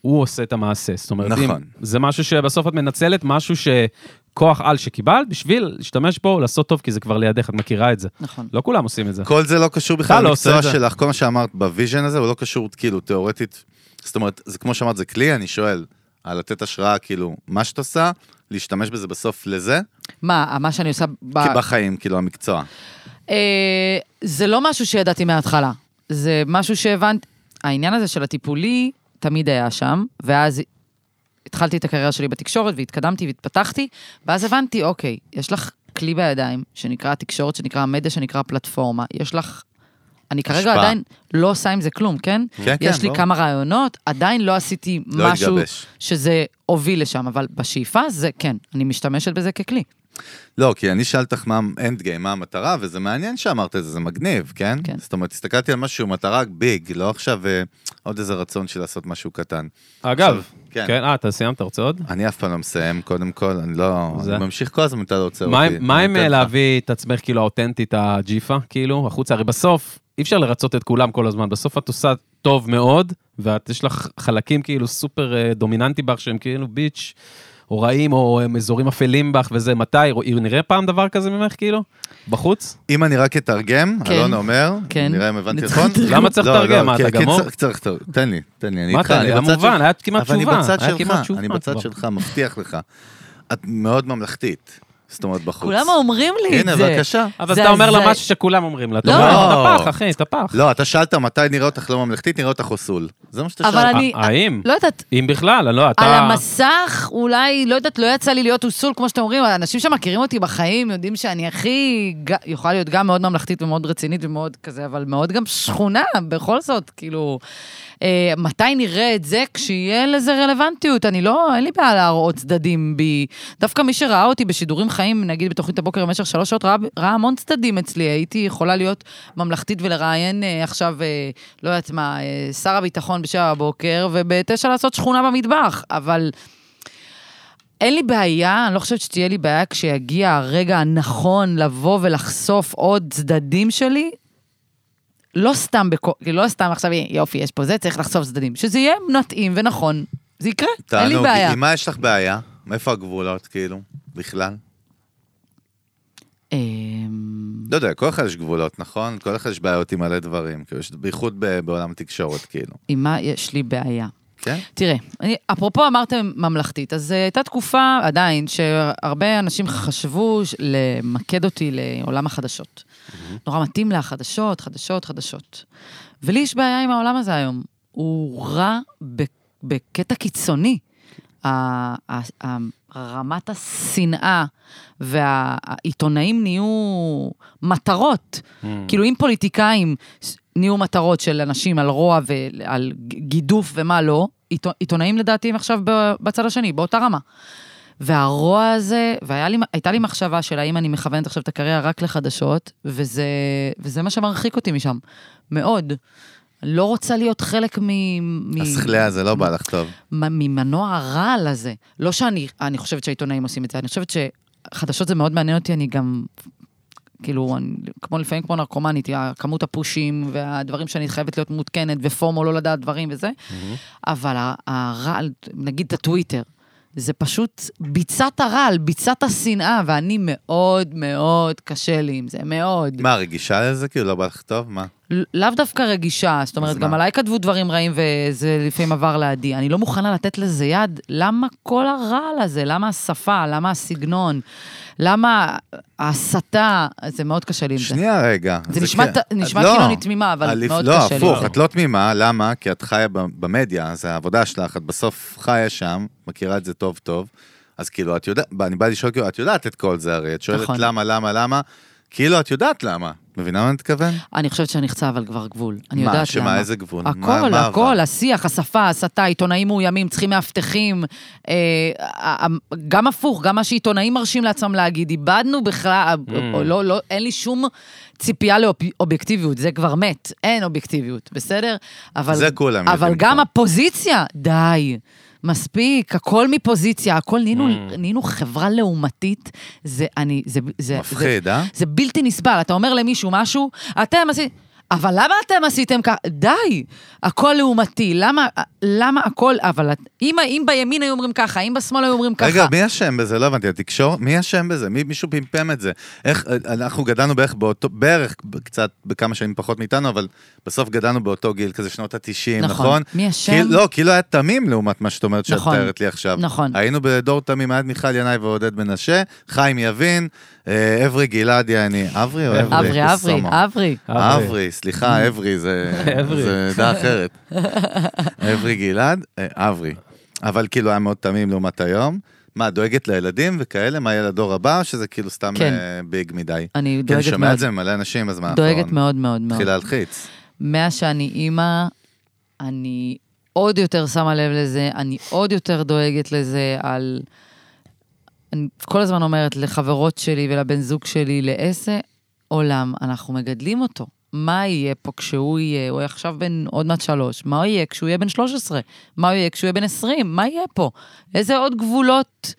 הוא עושה את המעשה. זאת אומרת, אם- נכון. זה משהו שבסוף את מנצלת, משהו שכוח על שקיבלת, בשביל להשתמש בו, לעשות טוב, כי זה כבר לידך, את מכירה את זה. נכון. לא כולם עושים את זה. כל זה לא קשור אתה בכלל לא עושה למקצוע את זה. שלך, כל מה שאמרת בוויז'ן הזה, הוא לא קשור כאילו תיאורטית. זאת אומרת, זה כמו שאמרת, זה כלי, אני שואל, על לתת השראה, כאילו, מה שאת עושה, להשתמש בזה בסוף לזה, מה, מה שאני עושה... ב- אה. כי בחיים, כאילו, המקצוע. אה, זה לא משהו שידעתי מההתחלה. זה משהו שהבנתי... העניין הזה של הטיפולי תמיד היה שם, ואז התחלתי את הקריירה שלי בתקשורת, והתקדמתי והתפתחתי, ואז הבנתי, אוקיי, יש לך כלי בידיים, שנקרא תקשורת, שנקרא מדיה, שנקרא פלטפורמה. יש לך... אני כרגע השפעה. עדיין לא עושה עם זה כלום, כן? כן, יש כן, לי ברור. כמה רעיונות, עדיין לא עשיתי לא משהו התגבש. שזה הוביל לשם, אבל בשאיפה זה כן, אני משתמשת בזה ככלי. לא, כי אני שאלתי אותך מה האנד גיים, מה המטרה, וזה מעניין שאמרת את זה, זה מגניב, כן? כן. זאת אומרת, הסתכלתי על משהו, מטרה ביג, לא עכשיו אה, עוד איזה רצון של לעשות משהו קטן. אגב, כן. כן, אה, אתה סיימת, אתה רוצה עוד? אני אף פעם לא מסיים, קודם כל, אני לא... זה- אני ממשיך כל הזמן, אתה לא עוצר מה אותי. עם- מה אני עם אה, אתן לך. להביא את עצמך כאילו האותנטית הג'יפה, כאילו, החוצה? הרי בסוף אי אפשר לרצות את כולם כל הזמן, בסוף את עושה טוב מאוד, ואת יש לך חלקים כאילו סופר אה, דומיננטי בך שהם כאילו ביץ', או רעים, או הם אזורים אפלים בך וזה, מתי? רוא- נראה פעם דבר כזה ממך כאילו? בחוץ? אם אני רק אתרגם, כן. אלון אומר, כן. נראה אם הבנתי אני נכון. צריכה לתרגם. למה צריך לא, לתרגם? לא, מה, כן, אתה כן, גמור? צריך- צריך לתרגם, תן לי, תן לי, אני מה איתך. אתה- אני בצד המובן, של- היה כמעט אבל אני תשובה, בצד היה שלך, כמעט תשובה אני בצד כבר. שלך, מבטיח לך. את מאוד ממלכתית, זאת אומרת, בחוץ. כולם אומרים לי את זה. הנה, בבקשה. כן, אבל זה- אתה אומר לה זה- משהו שכולם אומרים לה, אתה לא. אומר לה, אתה פח, אחי, אתה פח. לא, אתה שאלת מתי נראה אותך לא ממלכתית, נראה אותך חוסול. זה מה שאתה אבל שאלת. אני- ה- האם? לא יודעת, אם בכלל, אני לא, אתה... על המסך, אולי, לא יודעת, לא יצא לי להיות אוסול, כמו שאתם אומרים, האנשים שמכירים אותי בחיים יודעים שאני הכי, ג- יכולה להיות גם מאוד ממלכתית ומאוד רצינית ומאוד כזה, אבל מאוד גם שכונה, בכל זאת, כאילו, אה, מתי נראה את זה? כשיהיה לזה רלוונטיות, אני לא, אין לי בעיה להראות צדדים בי. דווקא מי שראה אותי בשידורים חיים, נגיד בתוכנית הבוקר במשך שלוש שעות, ראה, ראה המון צדדים אצלי, הייתי יכולה להיות ממלכתית ולראיין אה, עכשיו, אה, לא יודעת מה, אה, שר הביטחון בשבע בבוקר, ובתשע לעשות שכונה במטבח, אבל... אין לי בעיה, אני לא חושבת שתהיה לי בעיה כשיגיע הרגע הנכון לבוא ולחשוף עוד צדדים שלי. לא סתם, בכל, כאילו, לא סתם עכשיו, יופי, יש פה זה, צריך לחשוף צדדים. שזה יהיה מתאים ונכון, זה יקרה, אין לי תענוג, בעיה. עם מה יש לך בעיה? מאיפה הגבולות, כאילו? בכלל? אמ, לא יודע, כל אחד יש גבולות, נכון? כל אחד יש בעיות עם מלא דברים, כאילו, יש- בייחוד ב- בעולם התקשורת, כאילו. עם מה יש לי בעיה? כן? תראה, אני, אפרופו אמרתם ממלכתית, אז uh, הייתה תקופה עדיין שהרבה אנשים חשבו ש- למקד אותי לעולם החדשות. נורא מתאים לה חדשות, חדשות, חדשות. ולי יש בעיה עם העולם הזה היום. הוא רע ב- בקטע קיצוני. ה- ה- ה- רמת השנאה והעיתונאים נהיו מטרות. כאילו אם פוליטיקאים ש- נהיו מטרות של אנשים על רוע ועל ג- גידוף ומה לא, עיתו- עיתונאים לדעתי הם עכשיו ב- בצד השני, באותה רמה. והרוע הזה, והייתה לי מחשבה של האם אני מכוונת עכשיו את הקריירה רק לחדשות, וזה, וזה מה שמרחיק אותי משם, מאוד. לא רוצה להיות חלק מ... מ- הסכלה הזה לא בא לך טוב. מ- ממנוע הרעל הזה. לא שאני אני חושבת שהעיתונאים עושים את זה, אני חושבת שחדשות זה מאוד מעניין אותי, אני גם, כאילו, אני, כמו לפעמים כמו נרקומנית, כמות הפושים והדברים שאני חייבת להיות מעודכנת, ופומו לא לדעת דברים וזה, אבל ה- הרעל, נגיד את הטוויטר, זה פשוט ביצת הרעל, ביצת השנאה, ואני מאוד מאוד קשה לי עם זה, מאוד. מה, רגישה לזה? כאילו, לא בא לך טוב? מה? ל- לאו דווקא רגישה, זאת אומרת, אז גם מה? עליי כתבו דברים רעים וזה לפעמים עבר לידי. אני לא מוכנה לתת לזה יד. למה כל הרעל הזה? למה השפה? למה הסגנון? למה ההסתה? זה מאוד קשה לי עם זה. שנייה רגע. כן. זה נשמע כן. ת- נשמע לא. כאילו אני תמימה, אבל אליף- מאוד לא, קשה לי. לא, הפוך, את לא תמימה, למה? כי את חיה ב- במדיה, זה העבודה שלך, את בסוף חיה שם, מכירה את זה טוב טוב. אז כאילו, את יודעת, אני בא לשאול, כאילו, את יודעת את כל זה הרי, את שואלת נכון. למה, למה, למה, כאילו, את יודעת למה. מבינה מה אני מתכוון? אני חושבת שנחצה אבל כבר גבול. אני מה, יודעת שמה, למה. איזה גבול? מה- מה הכל, עבר? הכל, השיח, השפה, הסתה, עיתונאים מאוימים, צריכים מאבטחים. אה, ה- ה- גם הפוך, גם מה שעיתונאים מרשים לעצמם להגיד, איבדנו בכלל, Mm. או לא, לא, אין לי שום ציפייה לאובייקטיביות, זה כבר מת, אין אובייקטיביות, בסדר? אבל- זה כולם אבל יודעים גם כבר. הפוזיציה, די. מספיק, הכל מפוזיציה, הכל נהיינו, Mm. נהיינו חברה לעומתית, זה אני, זה, זה, מפחיד, זה, אה? זה בלתי נסבל, אתה אומר למישהו משהו, אתם עשיתם... אבל למה אתם עשיתם ככה? די, הכל לעומתי, למה, למה הכל, אבל את- אם, אם בימין היו אומרים ככה, אם בשמאל היו אומרים ככה. רגע, מי אשם בזה? לא הבנתי, התקשורת, מי אשם בזה? מי, מישהו פמפם את זה. איך, אנחנו גדלנו בערך באותו, בערך קצת, בכמה שנים פחות מאיתנו, אבל בסוף גדלנו באותו גיל, כזה שנות ה-90, נכון. נכון? מי אשם? כאילו, לא, כאילו היה תמים לעומת מה שאת אומרת שאת נכון. מתארת לי עכשיו. נכון. היינו בדור תמים, היה את מיכל ינאי ועודד מנשה, חיים יבין, אה, אברי גלעדי, אני... אברי או אברי? כן, אברי, אברי, אוסאמה. אברי. אברי. אברי, סליחה, אברי, זה אברי. זה דעה אחרת. אברי גלעד, אה, אברי. אבל כאילו היה מאוד תמים לעומת היום. מה, דואגת לילדים וכאלה? מה יהיה לדור הבא? שזה כאילו סתם כן. אה, ביג מדי. אני כי אני דואגת שומע מאוד, את זה נכון. ממלא אנשים, אז מה דואגת מאוד מאוד מאוד. התחיל להלחיץ. מאז שאני אימא, אני עוד יותר שמה לב לזה, אני עוד יותר דואגת לזה על... אני כל הזמן אומרת לחברות שלי ולבן זוג שלי, לאיזה עולם אנחנו מגדלים אותו? מה יהיה פה כשהוא יהיה, הוא עכשיו בן עוד מעט שלוש, מה יהיה כשהוא יהיה בן 13? מה יהיה כשהוא יהיה בן 20? מה יהיה פה? איזה עוד גבולות?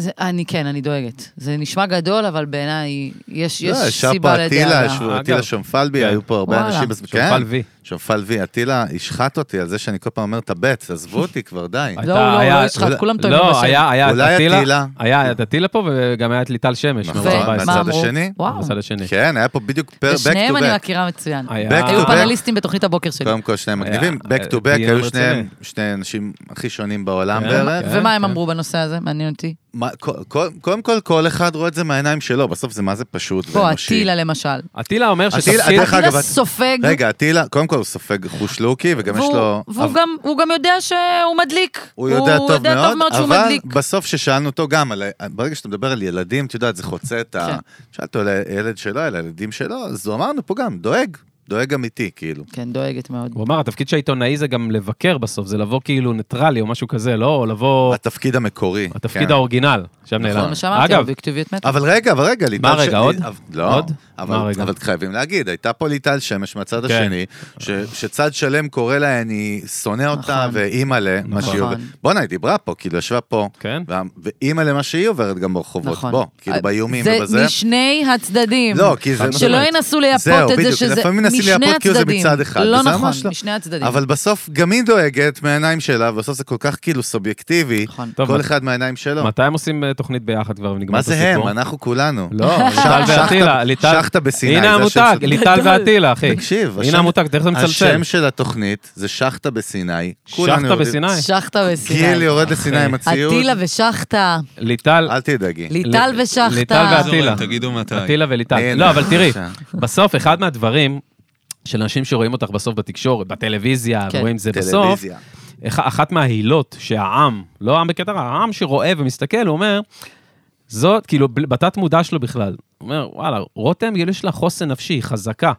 זה, אני כן, אני דואגת. זה נשמע גדול, אבל בעיניי יש, יש לא, ישב סיבה פה לדאגה. אטילה, ישבו אגב. אטילה שומפלבי, כן. היו פה הרבה וואלה. אנשים. אז- שומפל כן, וי. שומפל וי, אטילה השחט אותי על זה שאני כל פעם אומר את הבט, עזבו אותי כבר, די. הייתה- לא, הוא לא, היה- הוא לא ישחט, כולם טועים לא, בבשל. היה, היה את כן. אולי אטילה, אטילה. היה את אטילה פה וגם היה את ליטל שמש. נכון, מערוץ 14. מהצד השני? וואו, מהצד השני. כן, היה פה בדיוק פר- back to ושניהם אני back. מכירה מצוין. היה- Back to היו back. פאנליסטים בתוכנית הבוקר שלי. קודם כל שניהם היה- מגניבים, back to היה back, היו דיון שניהם רציני. שני האנשים הכי שונים בעולם כן. בערך. כן, ומה הם כן. אמרו בנושא הזה? מעניין אותי. מה- כל- כל- קודם כל, כל אחד רואה את זה מהעיניים שלו, בסוף זה מה זה פשוט בוא, ואנושי. אטילה למשל. אטילה אומר אטילה- שתפקיד... דרך אגב, אטילה את- סופג, רגע, אטילה, קודם כל הוא סופג חוש לוקי, וגם יש והוא- לו... והוא אבל- גם- הוא גם יודע שהוא מדליק. הוא יודע טוב מאוד, שהוא אבל מדליק. בסוף ששאלנו אותו גם, על ה- ברגע שאתה מדבר על ילדים, את יודעת, זה חוצה את כן. ה... שאלת על הילד שלו, על הילדים שלו, אז הוא אמרנו פה גם, דואג, דואג אמיתי, כאילו. כן, דואגת מאוד. הוא אמר, התפקיד של העיתונאי זה גם לבקר בסוף, זה לבוא כאילו ניטרלי או משהו כזה, לא או לבוא... התפקיד המקורי. התפקיד כן. האורגינל. עכשיו נעלם. לא. זה מה שאמרתי, אגב, אובייקטיביות מתה. אבל רגע, אבל רגע, ליטל... רגע, עוד? אב- לא, עוד? אבל, מה רגע? אבל חייבים להגיד, הייתה פה ליטל שמש מהצד כן. השני, ש, שצד שלם קורא לה, אני שונא אותה, נכון. ואימא'לה, מה נכון. שהיא עוברת. בואנה, היא דיברה פה, כאילו, ישבה פה. כן. וה- ואימא'לה, מה שהיא עוברת גם ברחובות, נכון. בוא, כאילו, אה, באיומים זה ובזה. משני הצדדים. לא, כי זה... שלא ינסו לייפות זהו, את זה בדיוק, שזה לפעמים מנסים משני לייפות כאילו זה הצדדים. מצד אחד, לא וזה נכון, ממש לא. משני הצדדים. אבל בסוף גם היא דואגת מהעיניים שלה, ובסוף זה כל כך כאילו סובייקטיבי, נכון. טוב, כל מת- אחד מהעיניים שלו. מתי הם עושים אה, תוכנית ביחד כבר ונגמר לא. מה את זה הסיפור? הם? אנחנו כולנו. לא, ליטל שחטה- ואטילה, ליטל... שחטה בסיני. הנה זה השם המותג, של- ליטל ואטילה, אחי. תקשיב, כן. הנה המותג, תכף זה מצלצל. השם של התוכנית זה שחטה בסיני. כולנו שחטה יורדים- בסיני? שחטה גיל וסיני. יורד לסיני עם הציוד. אטילה ושחטה. ליטל... אל תדאגי. ליטל ל- ושחטה. ליטל אז אומרים, ואטילה. תגידו מתי. אטילה וליטל. הנה, לא, אבל תראי, בבקשה. בסוף אחד מהדברים של אנשים שרואים אותך בסוף בתקשורת, בטלוויזיה, כן. ורואים את זה בסוף, טלוויזיה. אח- אחת מההילות שהעם, לא העם בקטע, רע, העם שרואה ומסתכל, הוא אומר, זאת, כאילו, בל- בתת מודע שלו בכלל. הוא אומר, וואלה, רותם, כאילו, יש לה חוסן נפשי, היא חזקה.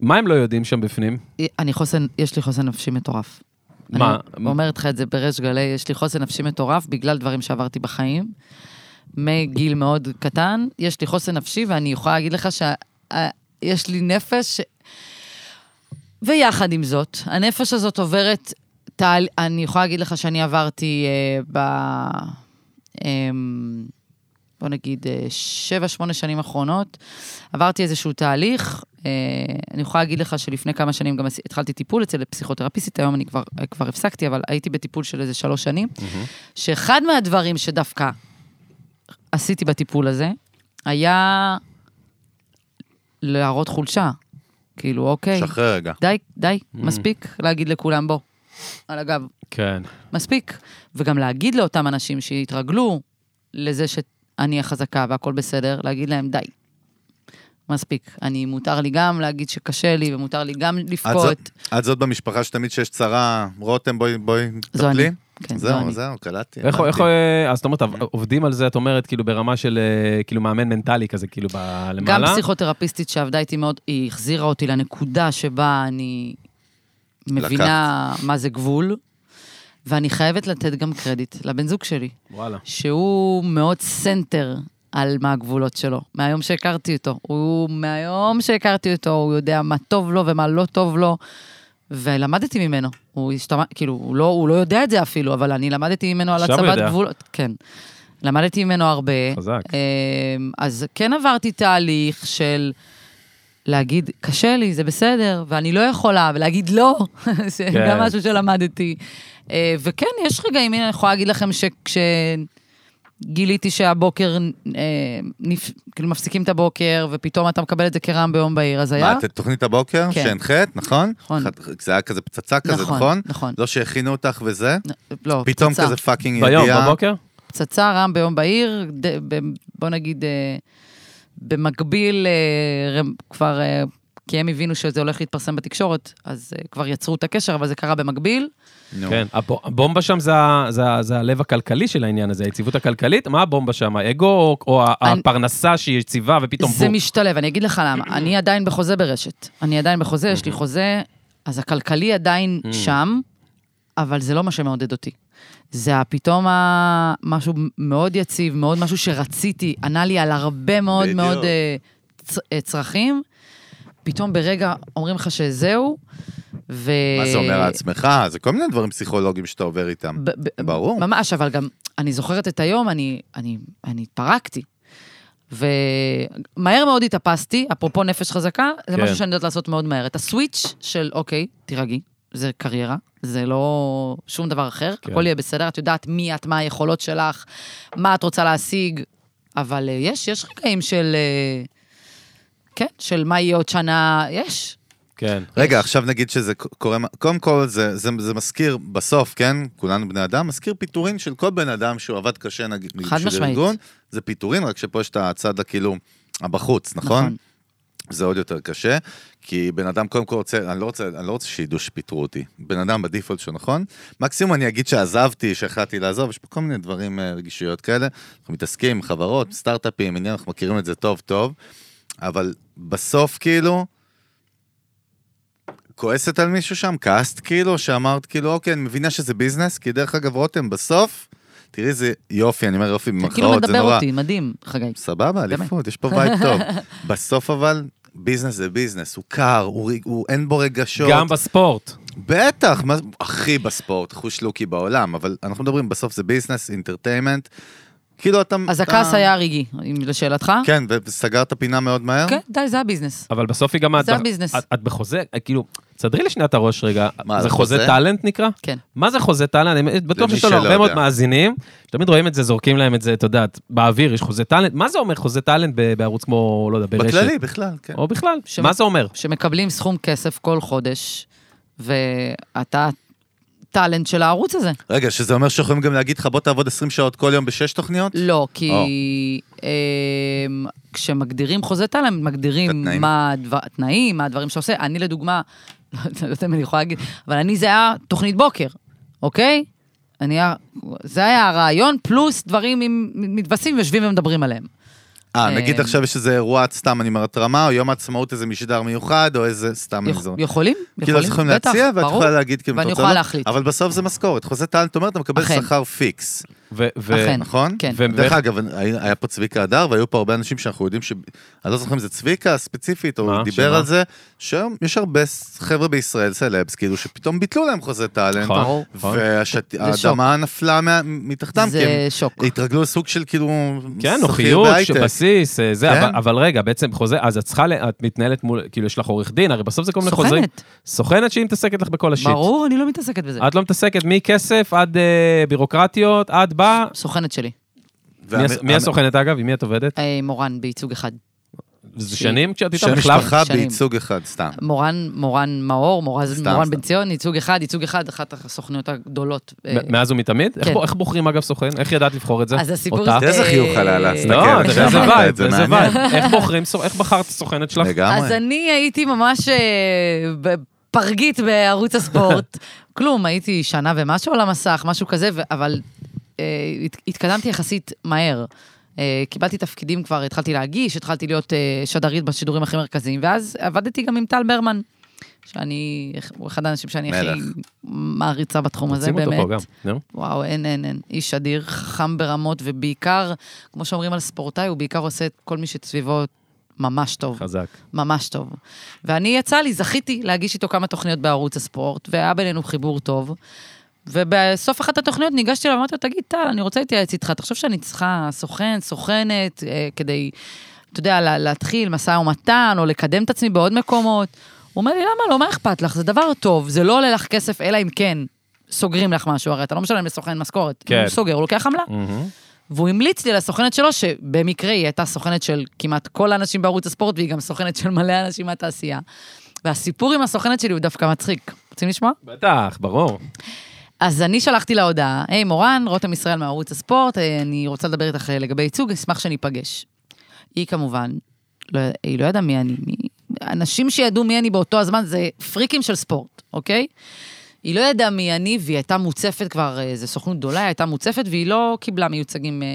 מה הם לא יודעים שם בפנים? אני חוסן, יש לי חוסן נפשי מטורף. מה? אני אומרת לך את זה בריש גלי, יש לי חוסן נפשי מטורף בגלל דברים שעברתי בחיים. מגיל מאוד קטן, יש לי חוסן נפשי, ואני יכולה להגיד לך שיש לי נפש... ש- ויחד עם זאת, הנפש הזאת עוברת, תהל... אני יכולה להגיד לך שאני עברתי אה, ב... אמ, בוא נגיד, אה, שבע, שמונה שנים האחרונות, עברתי איזשהו תהליך. אה, אני יכולה להגיד לך שלפני כמה שנים גם עשי- התחלתי טיפול אצל פסיכותרפיסטית, היום אני כבר, אה, כבר הפסקתי, אבל הייתי בטיפול של איזה שלוש שנים, שאחד מהדברים שדווקא עשיתי בטיפול הזה, היה להראות חולשה. כאילו, אוקיי, שחרר רגע. די, די, מספיק להגיד לכולם בוא, על הגב, כן. מספיק. וגם להגיד לאותם אנשים שהתרגלו לזה שאני החזקה והכל בסדר, להגיד להם די. מספיק. אני, מותר לי גם להגיד שקשה לי, ומותר לי גם את זאת- לבכות. את זאת במשפחה שתמיד שיש צרה, רותם, בואי, בואי, זו אני. תטפלי. כן, זו זהו, אני. זהו, קלטתי. איך, הבנתי. איך, אה, אז זאת אומרת, עב- עובדים על זה, את אומרת, כאילו ברמה של, אה, כאילו מאמן מנטלי כזה, כאילו ב- למעלה? גם פסיכותרפיסטית שעבדה איתי מאוד, היא החזירה אותי לנקודה שבה אני מבינה מה זה גבול, ואני חייבת לתת גם קרדיט לבן זוג שלי, וואלה. שהוא מאוד סנטר על מה הגבולות שלו, מהיום שהכרתי אותו. הוא, מהיום שהכרתי אותו, הוא יודע מה טוב לו ומה לא טוב לו, ולמדתי ממנו. הוא השתמע, כאילו, הוא לא, הוא לא יודע את זה אפילו, אבל אני למדתי ממנו על עכשיו הוא הצבת יודע. גבולות. כן. למדתי ממנו הרבה. חזק. אמ, אז כן עברתי תהליך של להגיד, קשה לי, זה בסדר, ואני לא יכולה, ולהגיד לא, זה כן. גם משהו שלמדתי. אה, וכן, יש רגעים, הנה, אני יכולה להגיד לכם שכשגיליתי שהבוקר, אה, נפ... כאילו מפסיקים את הבוקר, ופתאום אתה מקבל את זה כרעם ביום בהיר, אז היה... מה, את תוכנית הבוקר? כן. שהנחית, נכון? נכון. אחת- זה היה כזה פצצה כזה, נכון? נכון. לא שהכינו אותך וזה? לא, פתאום פצצה. כזה פאקינג ידיעה. ביום, בבוקר? פצצה, רעם ביום בהיר, ד... ב... בוא נגיד, אה, במקביל, אה, רם- כבר, אה, כי הם הבינו שזה הולך להתפרסם בתקשורת, אז אה, כבר יצרו את הקשר, אבל זה קרה במקביל. נו. כן. הבו- הבומבה שם זה ה- זה ה- זה הלב הכלכלי של העניין הזה, היציבות הכלכלית, מה הבומבה שם, האגו או- או ה- אני- הפרנסה שהיא יציבה ופתאום זה בום? משתלב, אני אגיד לך למה. אני עדיין בחוזה ברשת. אני עדיין בחוזה, יש לי אוקיי. חוזה, אז הכלכלי עדיין Mm. שם, אבל זה לא מה שמעודד אותי. זה פתאום משהו מאוד יציב, מאוד משהו שרציתי, ענה לי על הרבה מאוד בדיוק. מאוד אה, צ- אה, צרכים. פתאום ברגע אומרים לך שזהו, ו... מה זה אה, אומר לעצמך? זה כל מיני דברים פסיכולוגיים שאתה עובר איתם. ב- ב- ברור. ממש, אבל גם, אני זוכרת את היום, אני, אני, אני התפרקתי. ומהר מאוד התאפסתי, אפרופו נפש חזקה, זה כן. משהו שאני יודעת לעשות מאוד מהר. את הסוויץ' של, אוקיי, תירגעי, זה קריירה, זה לא שום דבר אחר, כן. הכל יהיה בסדר, את יודעת מי את, מה היכולות שלך, מה את רוצה להשיג, אבל אה, יש, יש רגעים של, אה, כן, של מה יהיה עוד שנה, יש. כן. רגע, עכשיו נגיד שזה ק- קורה, קודם כל זה, זה, זה מזכיר בסוף, כן? כולנו בני אדם, מזכיר פיטורין של כל בן אדם שהוא עבד קשה נגיד, חד בשביל משמעית. ארגון, זה פיטורין, רק שפה יש את הצד הכאילו, הבחוץ, נכון? נכון. נכון. זה עוד יותר קשה, כי בן אדם קודם כל רוצה, אני לא רוצה, אני לא רוצה שידעו שפיטרו אותי. בן אדם בדיפולט שלו, נכון? מקסימום אני אגיד שעזבתי, שהחלטתי לעזוב, יש פה כל מיני דברים, אה, רגישויות כאלה. אנחנו מתעסקים עם חברות, סטארט-אפים, עניין, אנחנו מכירים את זה טוב טוב, אבל בסוף כאילו, כועסת על מישהו שם? כעסת כאילו? שאמרת כאילו, אוקיי, אני מבינה שזה ביזנס? כי דרך אגב, רותם, בסוף, תראי איזה יופי, אני אומר יופי אתה כאילו במרכאות, זה נורא. מדבר אותי, מדהים, חגי. סבבה, באמת. אליפות, יש פה בית טוב. בסוף אבל, ביזנס זה ביזנס, הוא קר, הוא, ריג- הוא אין בו רגשות. גם בספורט. בטח, מה, הכי בספורט, חוש לוקי בעולם, אבל אנחנו מדברים, בסוף זה ביזנס, אינטרטיימנט. כאילו אתה... אז אתה- הכעס היה הרגעי, אם לשאלתך. כן, וסגרת פינה מאוד מהר? כן, די, זה הביזנס. אבל בסוף היא גם... את- הביזנס. את- את בחוזה, כאילו, תסדרי לי שנייה את הראש רגע. מה, זה זה חוזה חוזה? טאלנט נקרא? כן. מה זה חוזה טאלנט? אני בטוח למי שיש לנו שלא הרבה מאוד יודע. מאזינים, שתמיד רואים את זה, זורקים להם את זה, אתה יודעת, באוויר יש חוזה טאלנט. מה זה אומר חוזה טאלנט ב- בערוץ כמו, לא יודע, ברשת? בכללי, בכלל, כן. או בכלל, ש- מה זה אומר? שמקבלים סכום כסף כל חודש, ואתה טאלנט של הערוץ הזה. רגע, שזה אומר שיכולים גם להגיד לך, בוא תעבוד 20 שעות כל יום בשש תוכניות? לא, כי אמ, כשמגדירים חוזה טאלנט, את מגדירים התנאים. מה הדבר- התנאים, מה הדברים שעושה. אני לדוגמה, לא יודעת אם אני יכולה להגיד, אבל אני זה היה תוכנית בוקר, אוקיי? אני, היה- זה היה הרעיון, פלוס דברים עם מתווספים, יושבים ומדברים עליהם. אה, נגיד אה, עכשיו יש איזה אירוע, סתם אני אומר, התרמה, או יום העצמאות, איזה משדר מיוחד, או איזה, סתם יכ- איזו... יכולים? כאילו, אז יכולים בטח, להציע, ואת ברור. יכולה להגיד כאילו, ואני אתה רוצה יכולה לא? להחליט. אבל בסוף זה משכורת. חוזה טאלנט אומר, אתה מקבל אכן. שכר פיקס, ו- ו- אכן. נכון? כן. ו- דרך אגב, היה היה פה צביקה הדר, והיו פה הרבה אנשים שאנחנו יודעים ש... אני לא זוכר אם זה צביקה ספציפית, או מה? הוא דיבר שמה? על זה, שהיום יש הרבה ס- חבר'ה בישראל, סלבס, כאילו, שפתאום ביטלו להם חוזה טאלנט, נכון, ברור. נכון. שוק. והאדמה נפלה מה- מתחתם, כי זה הם שוק. התרגלו לסוג של כאילו... כן, שכיר נוחיות, בהייטק. שבסיס, אה, זה, כן. אבל, אבל רגע, בעצם חוזה, אז את צריכה, ל- את מתנהלת מול, כאילו יש לך עורך דין, הרי בסוף זה כל מיני סוכנת. חוזרים. סוכנת שהיא מתעסקת לך בכל השיט. ברור, אני לא מתעסקת בזה. את לא מתעסקת מכסף עד אה, בירוקרטיות, עד בא... סוכנת שלי, מי הס- והמ- מי הסוכנת אגב? עם מי את עובדת? אה, מורן, בייצוג אחד. זה שהיא- שנים כשאת איתה שם בכלל? משפחה שנים. בייצוג אחד, סתם. אה, מורן, מורן מאור, מורן, סתם, מורן סתם. בן ציון, ייצוג אחד, ייצוג אחד, אחת הסוכניות הגדולות. אה, מ- מאז ומתמיד? איך כן. בו- איך בוחרים אגב סוכן? איך ידעת לבחור את זה? אז הסיפור אותה? זה- תראה איזה אה, חיוך עלה לה, תסתכל. לא, תראה איזה כשאמרת את וייב, זה, איזה מעניין. וייב. איך בוחרים, סוכ- איך בחרת סוכנת שלך? לגמרי. אז אני הייתי ממש אה, בפרגית בערוץ הספורט. כלום, הייתי שנה ומשהו על המסך, משהו כזה, ו- אבל אה, הת- התקדמתי יחסית מהר. אה, קיבלתי תפקידים כבר, התחלתי להגיש, התחלתי להיות אה, שדרית בשידורים הכי מרכזיים, ואז עבדתי גם עם טל ברמן, שאני, הוא אחד האנשים שאני הכי מלך. מעריצה בתחום הזה, שים אותו פה באמת. גם, נו. וואו, אין, אין, אין. איש אדיר, חכם ברמות, ובעיקר, כמו שאומרים על ספורטאי, הוא בעיקר עושה את כל מי שסביבו ממש טוב. חזק. ממש טוב. ואני יצא לי, זכיתי להגיש איתו כמה תוכניות בערוץ הספורט, והיה בינינו חיבור טוב. ובסוף אחת התוכניות ניגשתי אליו ואמרתי לו, תגיד, טל, אני רוצה להתייעץ איתך, תחשוב שאני צריכה סוכן, סוכנת, אה, כדי, אתה יודע, לה- להתחיל משא ומתן, או לקדם את עצמי בעוד מקומות. הוא אומר לי, למה לא, מה אכפת לך? זה דבר טוב, זה לא עולה לך כסף, אלא אם כן סוגרים לך משהו, הרי אתה לא משלם לסוכן משכורת. כן. הוא סוגר, הוא לוקח עמלה. והוא המליץ לי לסוכנת שלו, שבמקרה היא הייתה סוכנת של כמעט כל האנשים בערוץ הספורט, והיא גם סוכנת של מלא אנשים מהתעשייה. והסיפור עם הסוכנת שלי הוא דווקא מצחיק. רוצים לשמוע? בטח, ברור. אז אני שלחתי לה הודעה, היי מורן, רותם ישראל מערוץ הספורט, אה, אני רוצה לדבר איתך אה, לגבי ייצוג, אשמח שניפגש. היא כמובן, לא, היא לא ידעה מי אני, מי... אנשים שידעו מי אני באותו הזמן זה פריקים של ספורט, אוקיי? היא לא ידעה מי אני, והיא הייתה מוצפת כבר, אה, זו סוכנות גדולה, היא הייתה מוצפת, והיא לא קיבלה מיוצגים אה,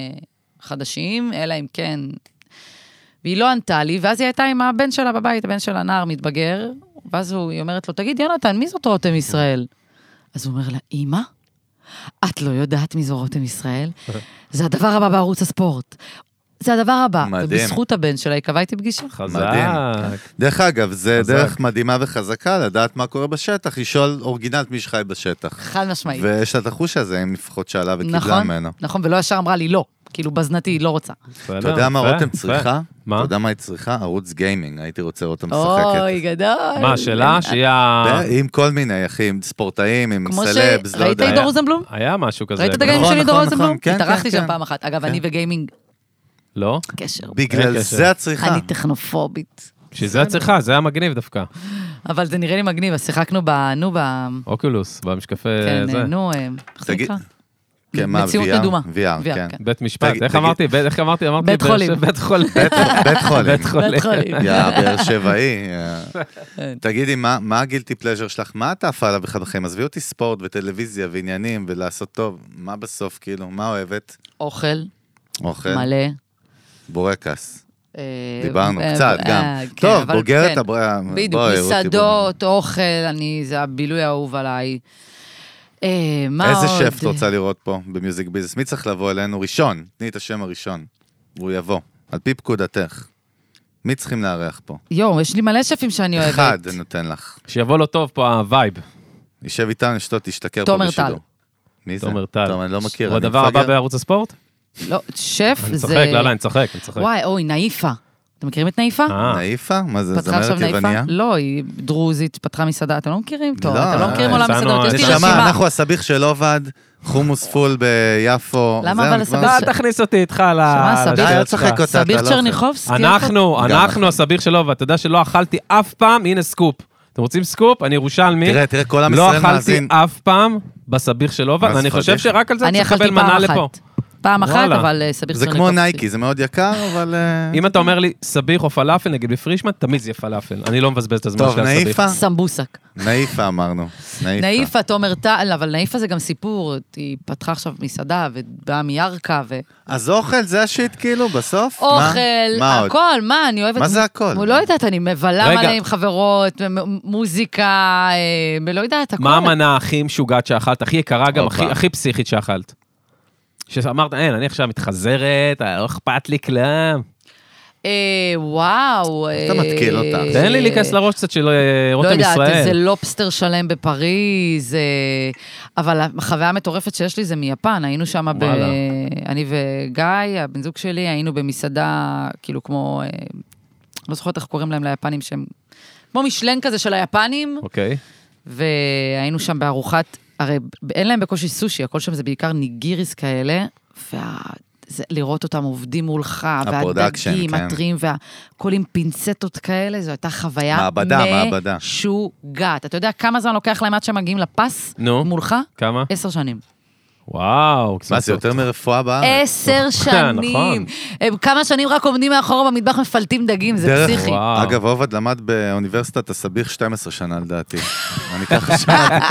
חדשים, אלא אם כן... והיא לא ענתה לי, ואז היא הייתה עם הבן שלה בבית, הבן שלה נער מתבגר, ואז הוא- היא אומרת לו, תגיד, יונתן, מי זאת רותם ישראל? אז הוא אומר לה, אימא, את לא יודעת מי זו רותם ישראל? זה הדבר הבא בערוץ הספורט. זה הדבר הבא. מדהים. ובזכות הבן שלה היא קבעה איתי פגישה. חזק. מדהים. דרך אגב, זה חזק. דרך מדהימה וחזקה לדעת מה קורה בשטח, לשאול אורגינלת מי שחי בשטח. חד משמעית. ויש לה את החוש הזה, אם לפחות שאלה וקיבלה נכון, ממנו. נכון, ולא ישר אמרה לי לא. כאילו, בזנתי, היא לא רוצה. בסדר, אתה יודע מה יפה, רותם יפה. צריכה? מה? אתה יודע מה היא צריכה? ערוץ גיימינג, הייתי רוצה רותם משחקת. אוי, גדול. כן. מה, אה, שאלה? שהיא ה... לא עם כל מיני, אחי, עם ספורטאים, עם כמו סלבס, לא שראית יודע. את דור רוזנבלום? היה משהו כזה. ראית את נכון? הגיימינג שלי, נכון, דור נכון, רוזנבלום? כן, כן, התארחתי שם כן. פעם אחת. אגב, אני וגיימינג, לא? קשר. בגלל אין זה קשר. את צריכה. אני טכנופובית. בשביל זה את צריכה, זה היה מגניב דווקא. אבל זה נראה לי מגניב, אז שיחקנו ב... נו, ב... אוקולוס, במשקפי כן, זה. נו, אה, איך זה תגיד- נקרא? כן, מה, מציאות VR? מדומה. VR, כן. בית משפט, תגיד- איך תגיד- אמרתי? בית- איך אמרתי? אמרתי בית באר חולים. שבע- בית חולים. בית- בית חולים. בית חולים. בית חולים. יא, באר שבעי. כן. תגידי, מה- מה הגילטי פלז'ר שלך? מה אתה עפה עליו בכלל בחיים? עזבי אותי ספורט וטלוויזיה ועניינים ולעשות טוב. מה בסוף, כאילו? מה אוהבת? אוכל אוכל? מלא. בורקס. אה, דיברנו אה, קצת אה, גם. כן, טוב, אבל בוגרת כן. הבריאה. בדיוק, מסעדות, אוכל, אני, זה הבילוי האהוב עליי. אה, מה עוד? איזה שף את רוצה לראות פה במיוזיק ביזנס? מי צריך לבוא אלינו? ראשון. תני את השם הראשון. הוא יבוא. על פי פקודתך. מי צריכים לארח פה? יואו, יש לי מלא שפים שאני אוהבת. אחד אני נותן לך. שיבוא לו טוב פה הווייב. יישב איתנו, ישתות, תשתכר פה תומר בשידור. טל. מי זה? תומר טל. טוב, אני לא מכיר, הוא אני הדבר הבא מפגר. בערוץ הספורט? לא, שף אני זה... צוחק, לא, לא, אני צוחק, אני צוחק. וואי, אוי, נאיפה. אתם מכירים את נאיפה? אה, נאיפה? מה זה, פתחה עכשיו זמרת נאיפה? יווניה? לא, היא דרוזית, פתחה מסעדה, אתם לא מכירים? טוב, לא, אתם לא מכירים אה, עולם יצאנו- מסעדות, יש לי נשמה, נשמה, רשימה. אנחנו הסביך של עובד, חומוס פול ביפו. למה זהו, נגמר אבל הסביך לא, ש- הסיפור. תכניס אותי איתך ל... שמע, לשאלות סביר- אה, די, אל שלך. תשחק אותה, אתה סביר לא אוכל. צ'רניחובסקי. אנחנו, גם אנחנו אחת. הסביר שלו, ואתה יודע שלא אכלתי אף פעם, הנה סקופ. אתם רוצים סקופ? אני ירושלמי. תראה, תראה, כל עם לא ישראל אכלתי מאזין. אף פעם בסביך של אובן, אז אני חושב פדיחה. שרק על זה אני צריך אכלתי לקבל מנה פעם אחת. לפה. פעם אחת, וואלה. אבל אה, סביר זה צ'רניחובסקי. כמו נייקי, זה מאוד יקר, אבל... אה, אם אתה אומר לי סביך או פלאפל, נגיד בפרישמן, תמיד זה יהיה פלאפל. אני לא מבזבז את הזמן טוב, שלי על סביך. נאיפה? סמבוסק. נאיפה אמרנו. נאיפה. נאיפה, תומר טל, אבל נאיפה זה גם סיפור, היא פתחה עכשיו מסעדה ובאה מירכא ו... אז אוכל זה השיט כאילו, בסוף? מה? אוכל, מה עוד? הכל, מה, אני אוהבת... מה זה הכל? הוא לא יודעת, אני מבלה רגע. מלא עם חברות, מ- מ- מוזיקה, אה, לא יודעת, הכל. מה המנה הכי משוגעת שאכלת, הכי יקרה גם, הכי- הופה. הכי פסיכית שאכלת? שאמרת, אין, אני עכשיו מתחזרת, אה, לא אכפת לי כלום. אה, וואו. אתה אה, מתקיל אותה. אה, תן לי להיכנס לראש קצת של אה, לא רותם יודעת, איזה ישראל. לובסטר שלם בפריז, אה, אבל החוויה המטורפת שיש לי זה מיפן, היינו שם, ב... וואלה. אני וגיא, הבן זוג שלי, היינו במסעדה, כאילו כמו, אה, לא זוכרת איך קוראים להם ליפנים שהם, כמו משלן כזה של היפנים, אוקיי. והיינו שם בארוחת, הרי אין להם בקושי סושי, הכל שם זה בעיקר ניגיריס כאלה, וה... זה לראות אותם עובדים מולך, הפרודקשן, והדגים, כן. הטרים, והכול עם פינצטות כאלה, זו הייתה חוויה מעבדה, מעבדה. משוגעת. אתה יודע כמה זמן לוקח להם עד שהם מגיעים לפס נו. מולך? כמה? עשר שנים. אה, וואו. מה, זה יותר מרפואה בארץ? עשר נכון. שנים. הם כמה שנים רק עומדים מאחורה במטבח, מפלטים דגים, זה דרך- פסיכי. וואו. אגב, עובד למד באוניברסיטת הסביח 12 שנה לדעתי. אני ככה שמעתי,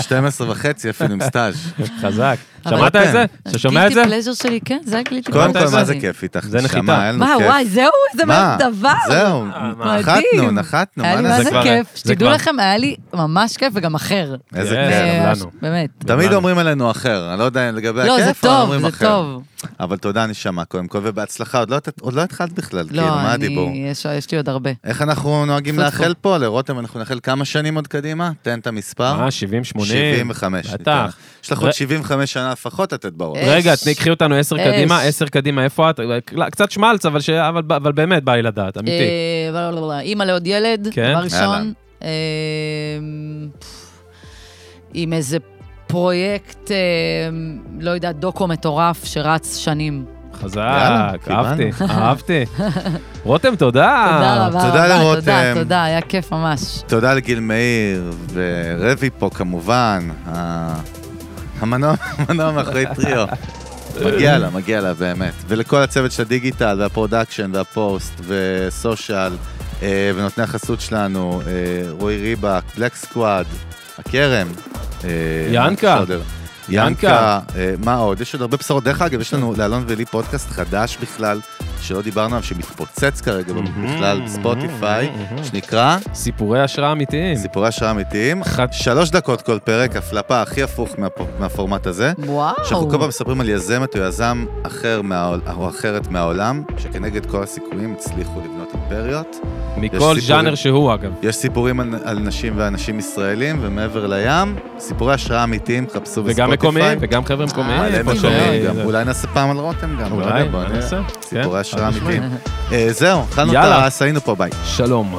12 וחצי אפילו עם סטאז'. חזק. אבל- שמעת את זה? אז אתה שומע את זה? guilty pleasure שלי, כן, זה הגלילטי קודם כל, מה זה שלי. כיף איתך? זה נחיתה. אה, נשמה, היה לנו מה, כיף. וואי, זהו, איזה מה? דבר. זהו, מה? נחתנו, מדהים. נחתנו, היה מה לי מה זה כבר- נעשה? כיף, זה שתדעו כבר- לכם, היה לי ממש כיף וגם אחר. איזה כן, כיף. גם אה, לנו. באמת. תמיד הבנו. אומרים עלינו אחר, אני לא יודע לגבי לא, זה הכיף, אבל טוב, אומרים זה אחר. טוב. אבל תודה, נשמה, קודם כל, ובהצלחה, עוד לא- עוד לא התחלת בכלל, כאילו, לא, מה הדיבור? אני, יש יש לי עוד הרבה. איך אנחנו נוהגים טפו, לאחל פה? לרותם אנחנו נאחל כמה שנים עוד קדימה? תן את המספר. מה, 70, 80? 75. ניתן. בטח. יש לך עוד ר- 75 שנה לפחות לתת בראש. אה, רגע, אש. תני, קחי אותנו עשר אש. קדימה, עשר קדימה, איפה את? קצת שמלץ, אבל ש- אבל- אבל באמת בא לי לדעת, אמיתי. אה, לא, לא, לא, לא. אימא לעוד ילד, כן. דבר ראשון. אהלן. אה, עם איזה פרויקט, אה, לא יודעת, דוקו מטורף שרץ שנים. חזק, יאללה, אהבתי, קיבלנו. אהבתי. רותם, אה, תודה. תודה רבה. תודה רבה, לרותם. תודה, תודה, היה כיף ממש. תודה לגיל מאיר, ורבי פה כמובן, ה- המנוע המנוע מאחורי טריו. מגיע לה, מגיע לה באמת. ולכל הצוות של הדיגיטל, והפרודקשן, והפוסט, וסושיאל, אה, ונותני החסות שלנו, אה, רועי ריבק, בלק סקוואד, הכרם. אה, ינקה. שודר. ינקה. ינקה, אה, מה עוד? יש עוד הרבה בשורות. דרך אגב, יש לנו לאלון ולי פודקאסט חדש בכלל, שלא דיברנו עליו, שמתפוצץ כרגע בכלל בספוטיפיי, שנקרא סיפורי השראה אמיתיים. סיפורי השראה אמיתיים. חד- שלוש דקות כל פרק, הפלפה הכי הפוך מהפ- מהפורמט הזה. וואו. שאנחנו כל פעם מספרים על יזמת או יזם אחר מהעול- או אחרת מהעולם, שכנגד כל הסיכויים הצליחו לבנות אימפריות. מכל יש סיפורים. ז'אנר שהוא, אגב. יש סיפורים על, על נשים ואנשים ישראלים, ומעבר לים, סיפורי השראה אמיתיים, חפשו וגם מקומיים, וגם אה, חבר'ה מקומיים. מלא מלא פה מקומיים שם. גם. אולי נעשה פעם על רותם גם. לא אה, אולי, יודע, בוא מה נראה. נעשה? כן, סיפורי השראה חד משמעית. אמיתיים. אה, זהו, אכלנו את יאללה. הרס, היינו פה, ביי. שלום.